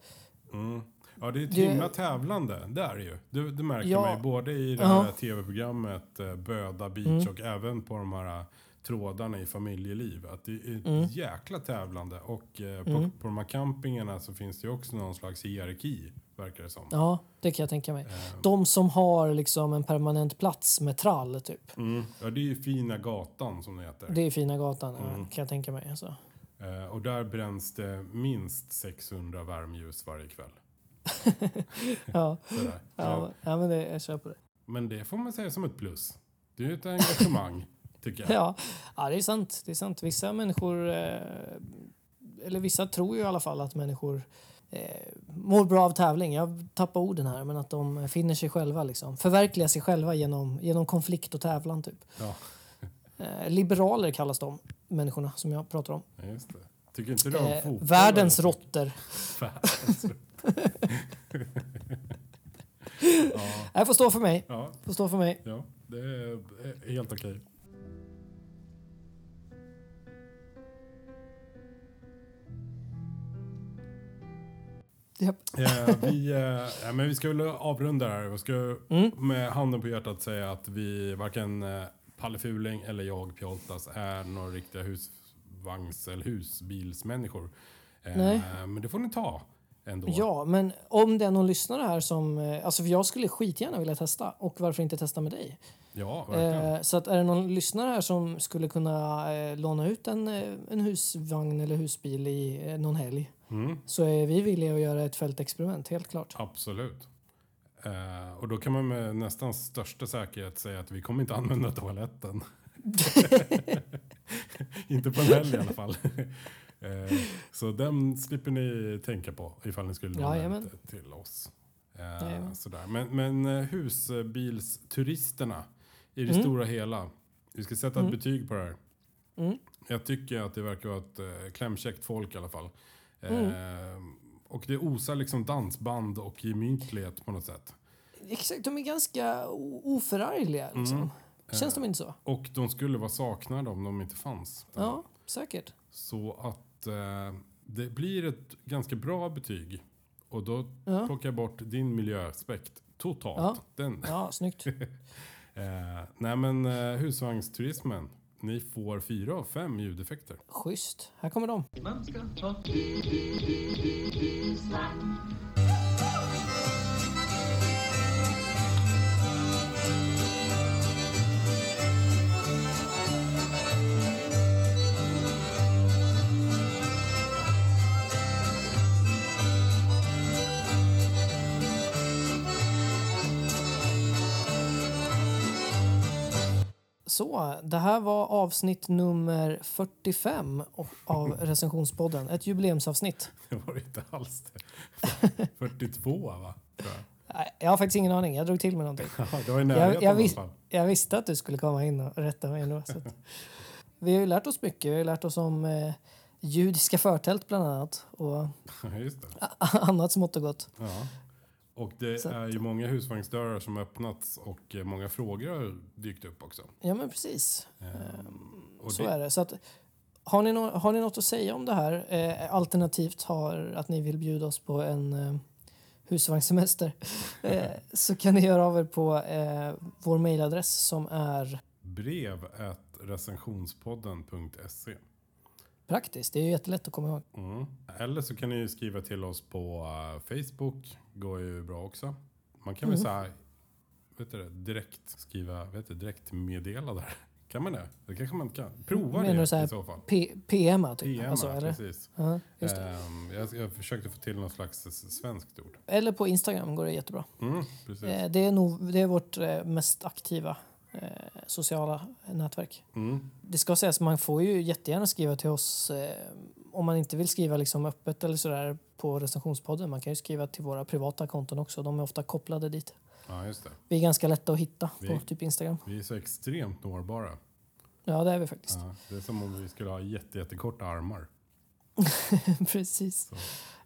S4: Ja, det är ett
S3: Det-
S4: himla tävlande. Det är det ju. Du, du märker
S3: Ja.
S4: mig både i det
S3: Ja. Mm.
S4: här tv-programmet eh, Böda Beach och även på de här eh, trådarna i familjeliv. Att det är ett
S3: Mm.
S4: jäkla tävlande. Och eh, på, på de här campingarna så finns det ju också någon slags hierarki, verkar det som.
S3: Ja, det kan jag tänka mig. De som har liksom en permanent plats med trall, typ.
S4: Mm. Ja, det är ju Fina Gatan som det heter.
S3: Det är fina gatan, ja, kan jag tänka mig. Alltså.
S4: Eh, och där bränns det minst 600 värmeljus varje kväll.
S3: Ja,
S4: Sådär.
S3: ja, ja, men det, jag kör på det.
S4: Men det får man säga som ett plus. Det är ju ett engagemang, tycker jag.
S3: Ja. ja, det är sant. Det är sant. Vissa människor, eh, eller vissa tror ju i alla fall att människor eh, mår bra av tävling. Jag tappar orden här, men att de finner sig själva, liksom. förverkligar sig själva genom, genom konflikt och tävlan, typ.
S4: Ja.
S3: Eh, liberaler kallas de människorna som jag pratar om.
S4: Ja, Just det. Tycker inte du om
S3: Eh,
S4: fotboll?
S3: världens
S4: eller?
S3: råttor.
S4: Världens rått. ja,
S3: Det här får stå för mig.
S4: ja,
S3: Får stå för mig.
S4: ja, det är eh, helt okej.
S3: Japp.
S4: Eh, vi, eh, ja, men vi ska väl avrunda här. Vi ska
S3: Mm.
S4: med handen på hjärtat säga att vi varken eh, Palle Fuling eller jag Pjoltas är några riktiga husvagns eller husbilsmänniskor. Eh,
S3: Nej.
S4: Men det får ni ta ändå.
S3: Ja, men om det är någon lyssnare här som... eh, Alltså för jag skulle skitgärna vilja testa och varför inte testa med dig?
S4: ja verkligen.
S3: Eh, så att är det någon lyssnare här som skulle kunna eh, låna ut en, eh, en husvagn eller husbil i eh, någon helg så är vi villiga att göra ett fältexperiment, helt klart.
S4: Absolut. Eh, och då kan man med nästan största säkerhet säga att vi kommer inte använda toaletten. inte på en helg i alla fall. eh, så den slipper ni tänka på ifall ni skulle låna
S3: Jajamän.
S4: ut till oss. Eh,
S3: Jajamän.
S4: sådär. Men, men eh, husbilsturisterna i det
S3: Mm.
S4: stora hela. Vi ska sätta ett betyg på det här.
S3: Mm.
S4: Jag tycker att det verkar vara ett eh, klämkäckt folk i alla fall.
S3: Mm.
S4: Eh, och det osar liksom dansband och gemytlighet på något sätt.
S3: Exakt, de är ganska o- oförargliga. Liksom. Känns de inte så?
S4: Och de skulle vara saknade om de inte fanns.
S3: Ja, säkert.
S4: Så att eh, det blir ett ganska bra betyg. Och då
S3: Ja.
S4: plockar jag bort din miljöaspekt totalt. Den,
S3: Ja, snyggt.
S4: eh, nej men eh, husvagnsturismen. Ni får fyra av fem ljudeffekter.
S3: Schysst. Här kommer de. Så, det här var avsnitt nummer 45 o- av recensionspodden. Ett jubileumsavsnitt.
S4: Det var inte alls det. 42 va? Tror jag.
S3: Nej, Jag har faktiskt ingen aning. Jag drog till med någonting.
S4: Ja, det var i närheten
S3: Jag, jag,
S4: i
S3: vis,
S4: alla fall.
S3: jag visste att du skulle komma in och rätta mig ändå. Så att. Vi har ju lärt oss mycket. Vi har ju lärt oss om eh, judiska förtält bland annat och
S4: Ja, Just det.
S3: annat smått och gott.
S4: Ja. Och det
S3: Så att-
S4: är ju många husvagnsdörrar som öppnats och eh, många frågor har dykt upp också. Eh,
S3: Ja, men precis. Eh,
S4: Och
S3: Så
S4: det,
S3: är det. Så att, har, ni nå- har ni något att säga om det här? Eh, alternativt har, att ni vill bjuda oss på en eh, husvagnssemester eh, så kan ni höra av er på eh, vår mejladress som är
S4: Brev at recensionspodden.se.
S3: praktisk. Det är ju jättelätt att komma ihåg.
S4: Mm. Eller så kan ni ju skriva till oss på eh, Facebook. Går ju bra också. Man kan väl
S3: Mm.
S4: säga vet du det, direkt skriva vet du, direkt meddela där. Kan man det? Det kanske man inte kan. Prova
S3: Menar du
S4: det
S3: så här
S4: i så fall.
S3: P- PMa typ?
S4: PM,
S3: alltså, eller?
S4: precis.
S3: Ja, just det.
S4: Ehm, jag, jag försökte få till någon slags s- svenskt ord.
S3: eller på Instagram går det jättebra.
S4: Mm, precis.
S3: Eh, det, är nog, det är vårt eh, mest aktiva eh, sociala nätverk.
S4: Mm.
S3: Det ska sägas, man får ju jättegärna skriva till oss eh, om man inte vill skriva liksom öppet eller sådär på recensionspodden. Man kan ju skriva till våra privata konton också. De är ofta kopplade dit.
S4: Ja, just det.
S3: Vi är ganska lätta att hitta på
S4: Vi-
S3: typ Instagram.
S4: Vi är så extremt nåbara.
S3: Ja, det är vi faktiskt.
S4: Ja, det är som om vi skulle ha jätte, jättekorta armar.
S3: Precis.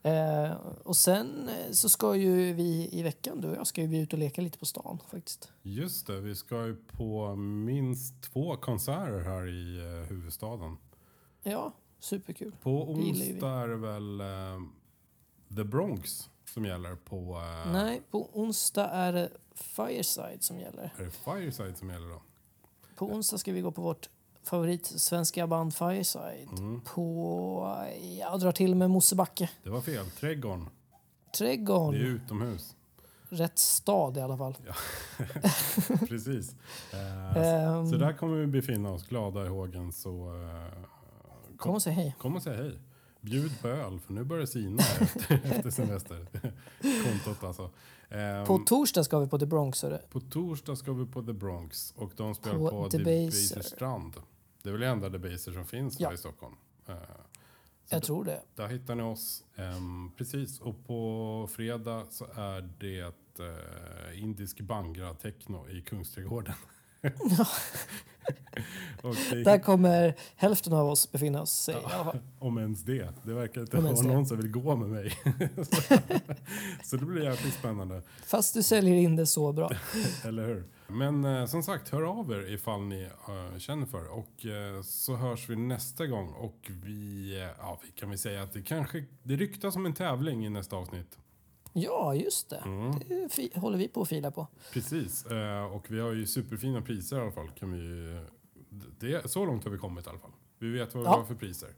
S3: Eh, och sen eh, så ska ju vi i veckan, du och jag, ska ju bli ute och leka lite på stan faktiskt.
S4: Just det, vi ska ju på minst två konserter här i eh, huvudstaden.
S3: Ja, superkul.
S4: På
S3: Det gillar ju vi.
S4: onsdag är det väl eh, The Bronx som gäller på... eh,
S3: Nej, på onsdag är det Fireside som gäller.
S4: Är det Fireside som gäller då?
S3: På onsdag ska vi gå på vårt favoritsvenska band Fireside.
S4: Mm.
S3: På, jag drar till med Mosebacke.
S4: Det var fel. Trädgården. Det är
S3: Trädgården.
S4: utomhus.
S3: Rätt stad i alla fall.
S4: Precis. Eh,
S3: Ehm,
S4: så där kommer vi befinna oss glada i hågen. Så eh,
S3: Kom och säg hej.
S4: kom och säg hej. Bjud på öl, för nu börjar det sina här efter, efter semester. Kontot alltså. Ehm,
S3: På torsdag ska vi på The Bronx. hörru.
S4: På torsdag ska vi på The Bronx och de spelar
S3: På
S4: på,
S3: Debaser.
S4: Debaser Strand. Det är väl det enda Debaser som finns
S3: Ja.
S4: här i Stockholm. Eh,
S3: Jag tror det.
S4: där hittar ni oss. Ehm, precis, och på fredag så är det eh, indisk bangra techno i Kungsträdgården. och det,
S3: Där kommer hälften av oss befinna oss. säger jag i alla fall.
S4: Om ens det. Det verkar inte
S3: Om
S4: vara
S3: ens det.
S4: någon som vill gå med mig. så det blir jäkligt spännande.
S3: Fast du säljer in det så bra.
S4: Eller hur? Men eh, som sagt, hör av er ifall ni eh, känner för det. Och eh, så hörs vi nästa gång. Och vi, eh, ja, vi kan vi säga att det kanske, det ryktas om en tävling i nästa avsnitt.
S3: Ja, just det.
S4: Mm.
S3: Det fi- håller vi på att fila på.
S4: Precis. Eh, och vi har ju superfina priser i alla fall. Kan vi, ju- det, så långt har vi kommit i alla fall. Vi vet vad vi
S3: Ja.
S4: har för priser.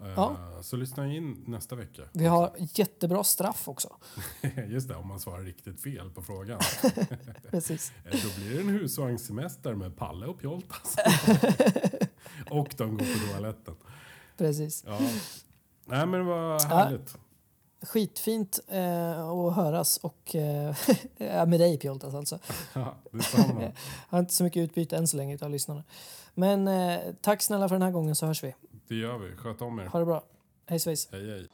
S4: Eh,
S3: Ja.
S4: Så lyssna in nästa vecka.
S3: Vi har jättebra straff också.
S4: Just det, om man svarar riktigt fel på frågan.
S3: Precis.
S4: Eh, Då blir det en husvagnssemester med Palle och Pjoltas. och de går på toaletten.
S3: Precis.
S4: Ja. Nej men vad härligt.
S3: Skitfint eh, att höras och eh, ja, med dig Pjoltas alltså.
S4: Ja, detsamma.
S3: Har inte så mycket utbyte än så länge utav lyssnarna. Men eh, tack snälla för den här gången så hörs vi.
S4: Det gör vi. Sköt om er.
S3: Ha det bra. Hej svejs.
S4: Hej hej.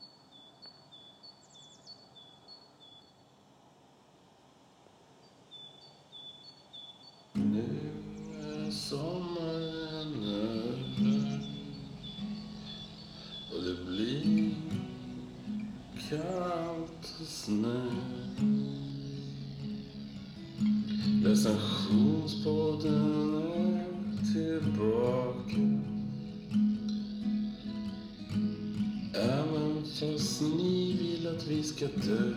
S2: Nu är sommaren över och det blir kallt och snö. Recensionspodden är tillbaka. Även fast ni vill att vi ska dö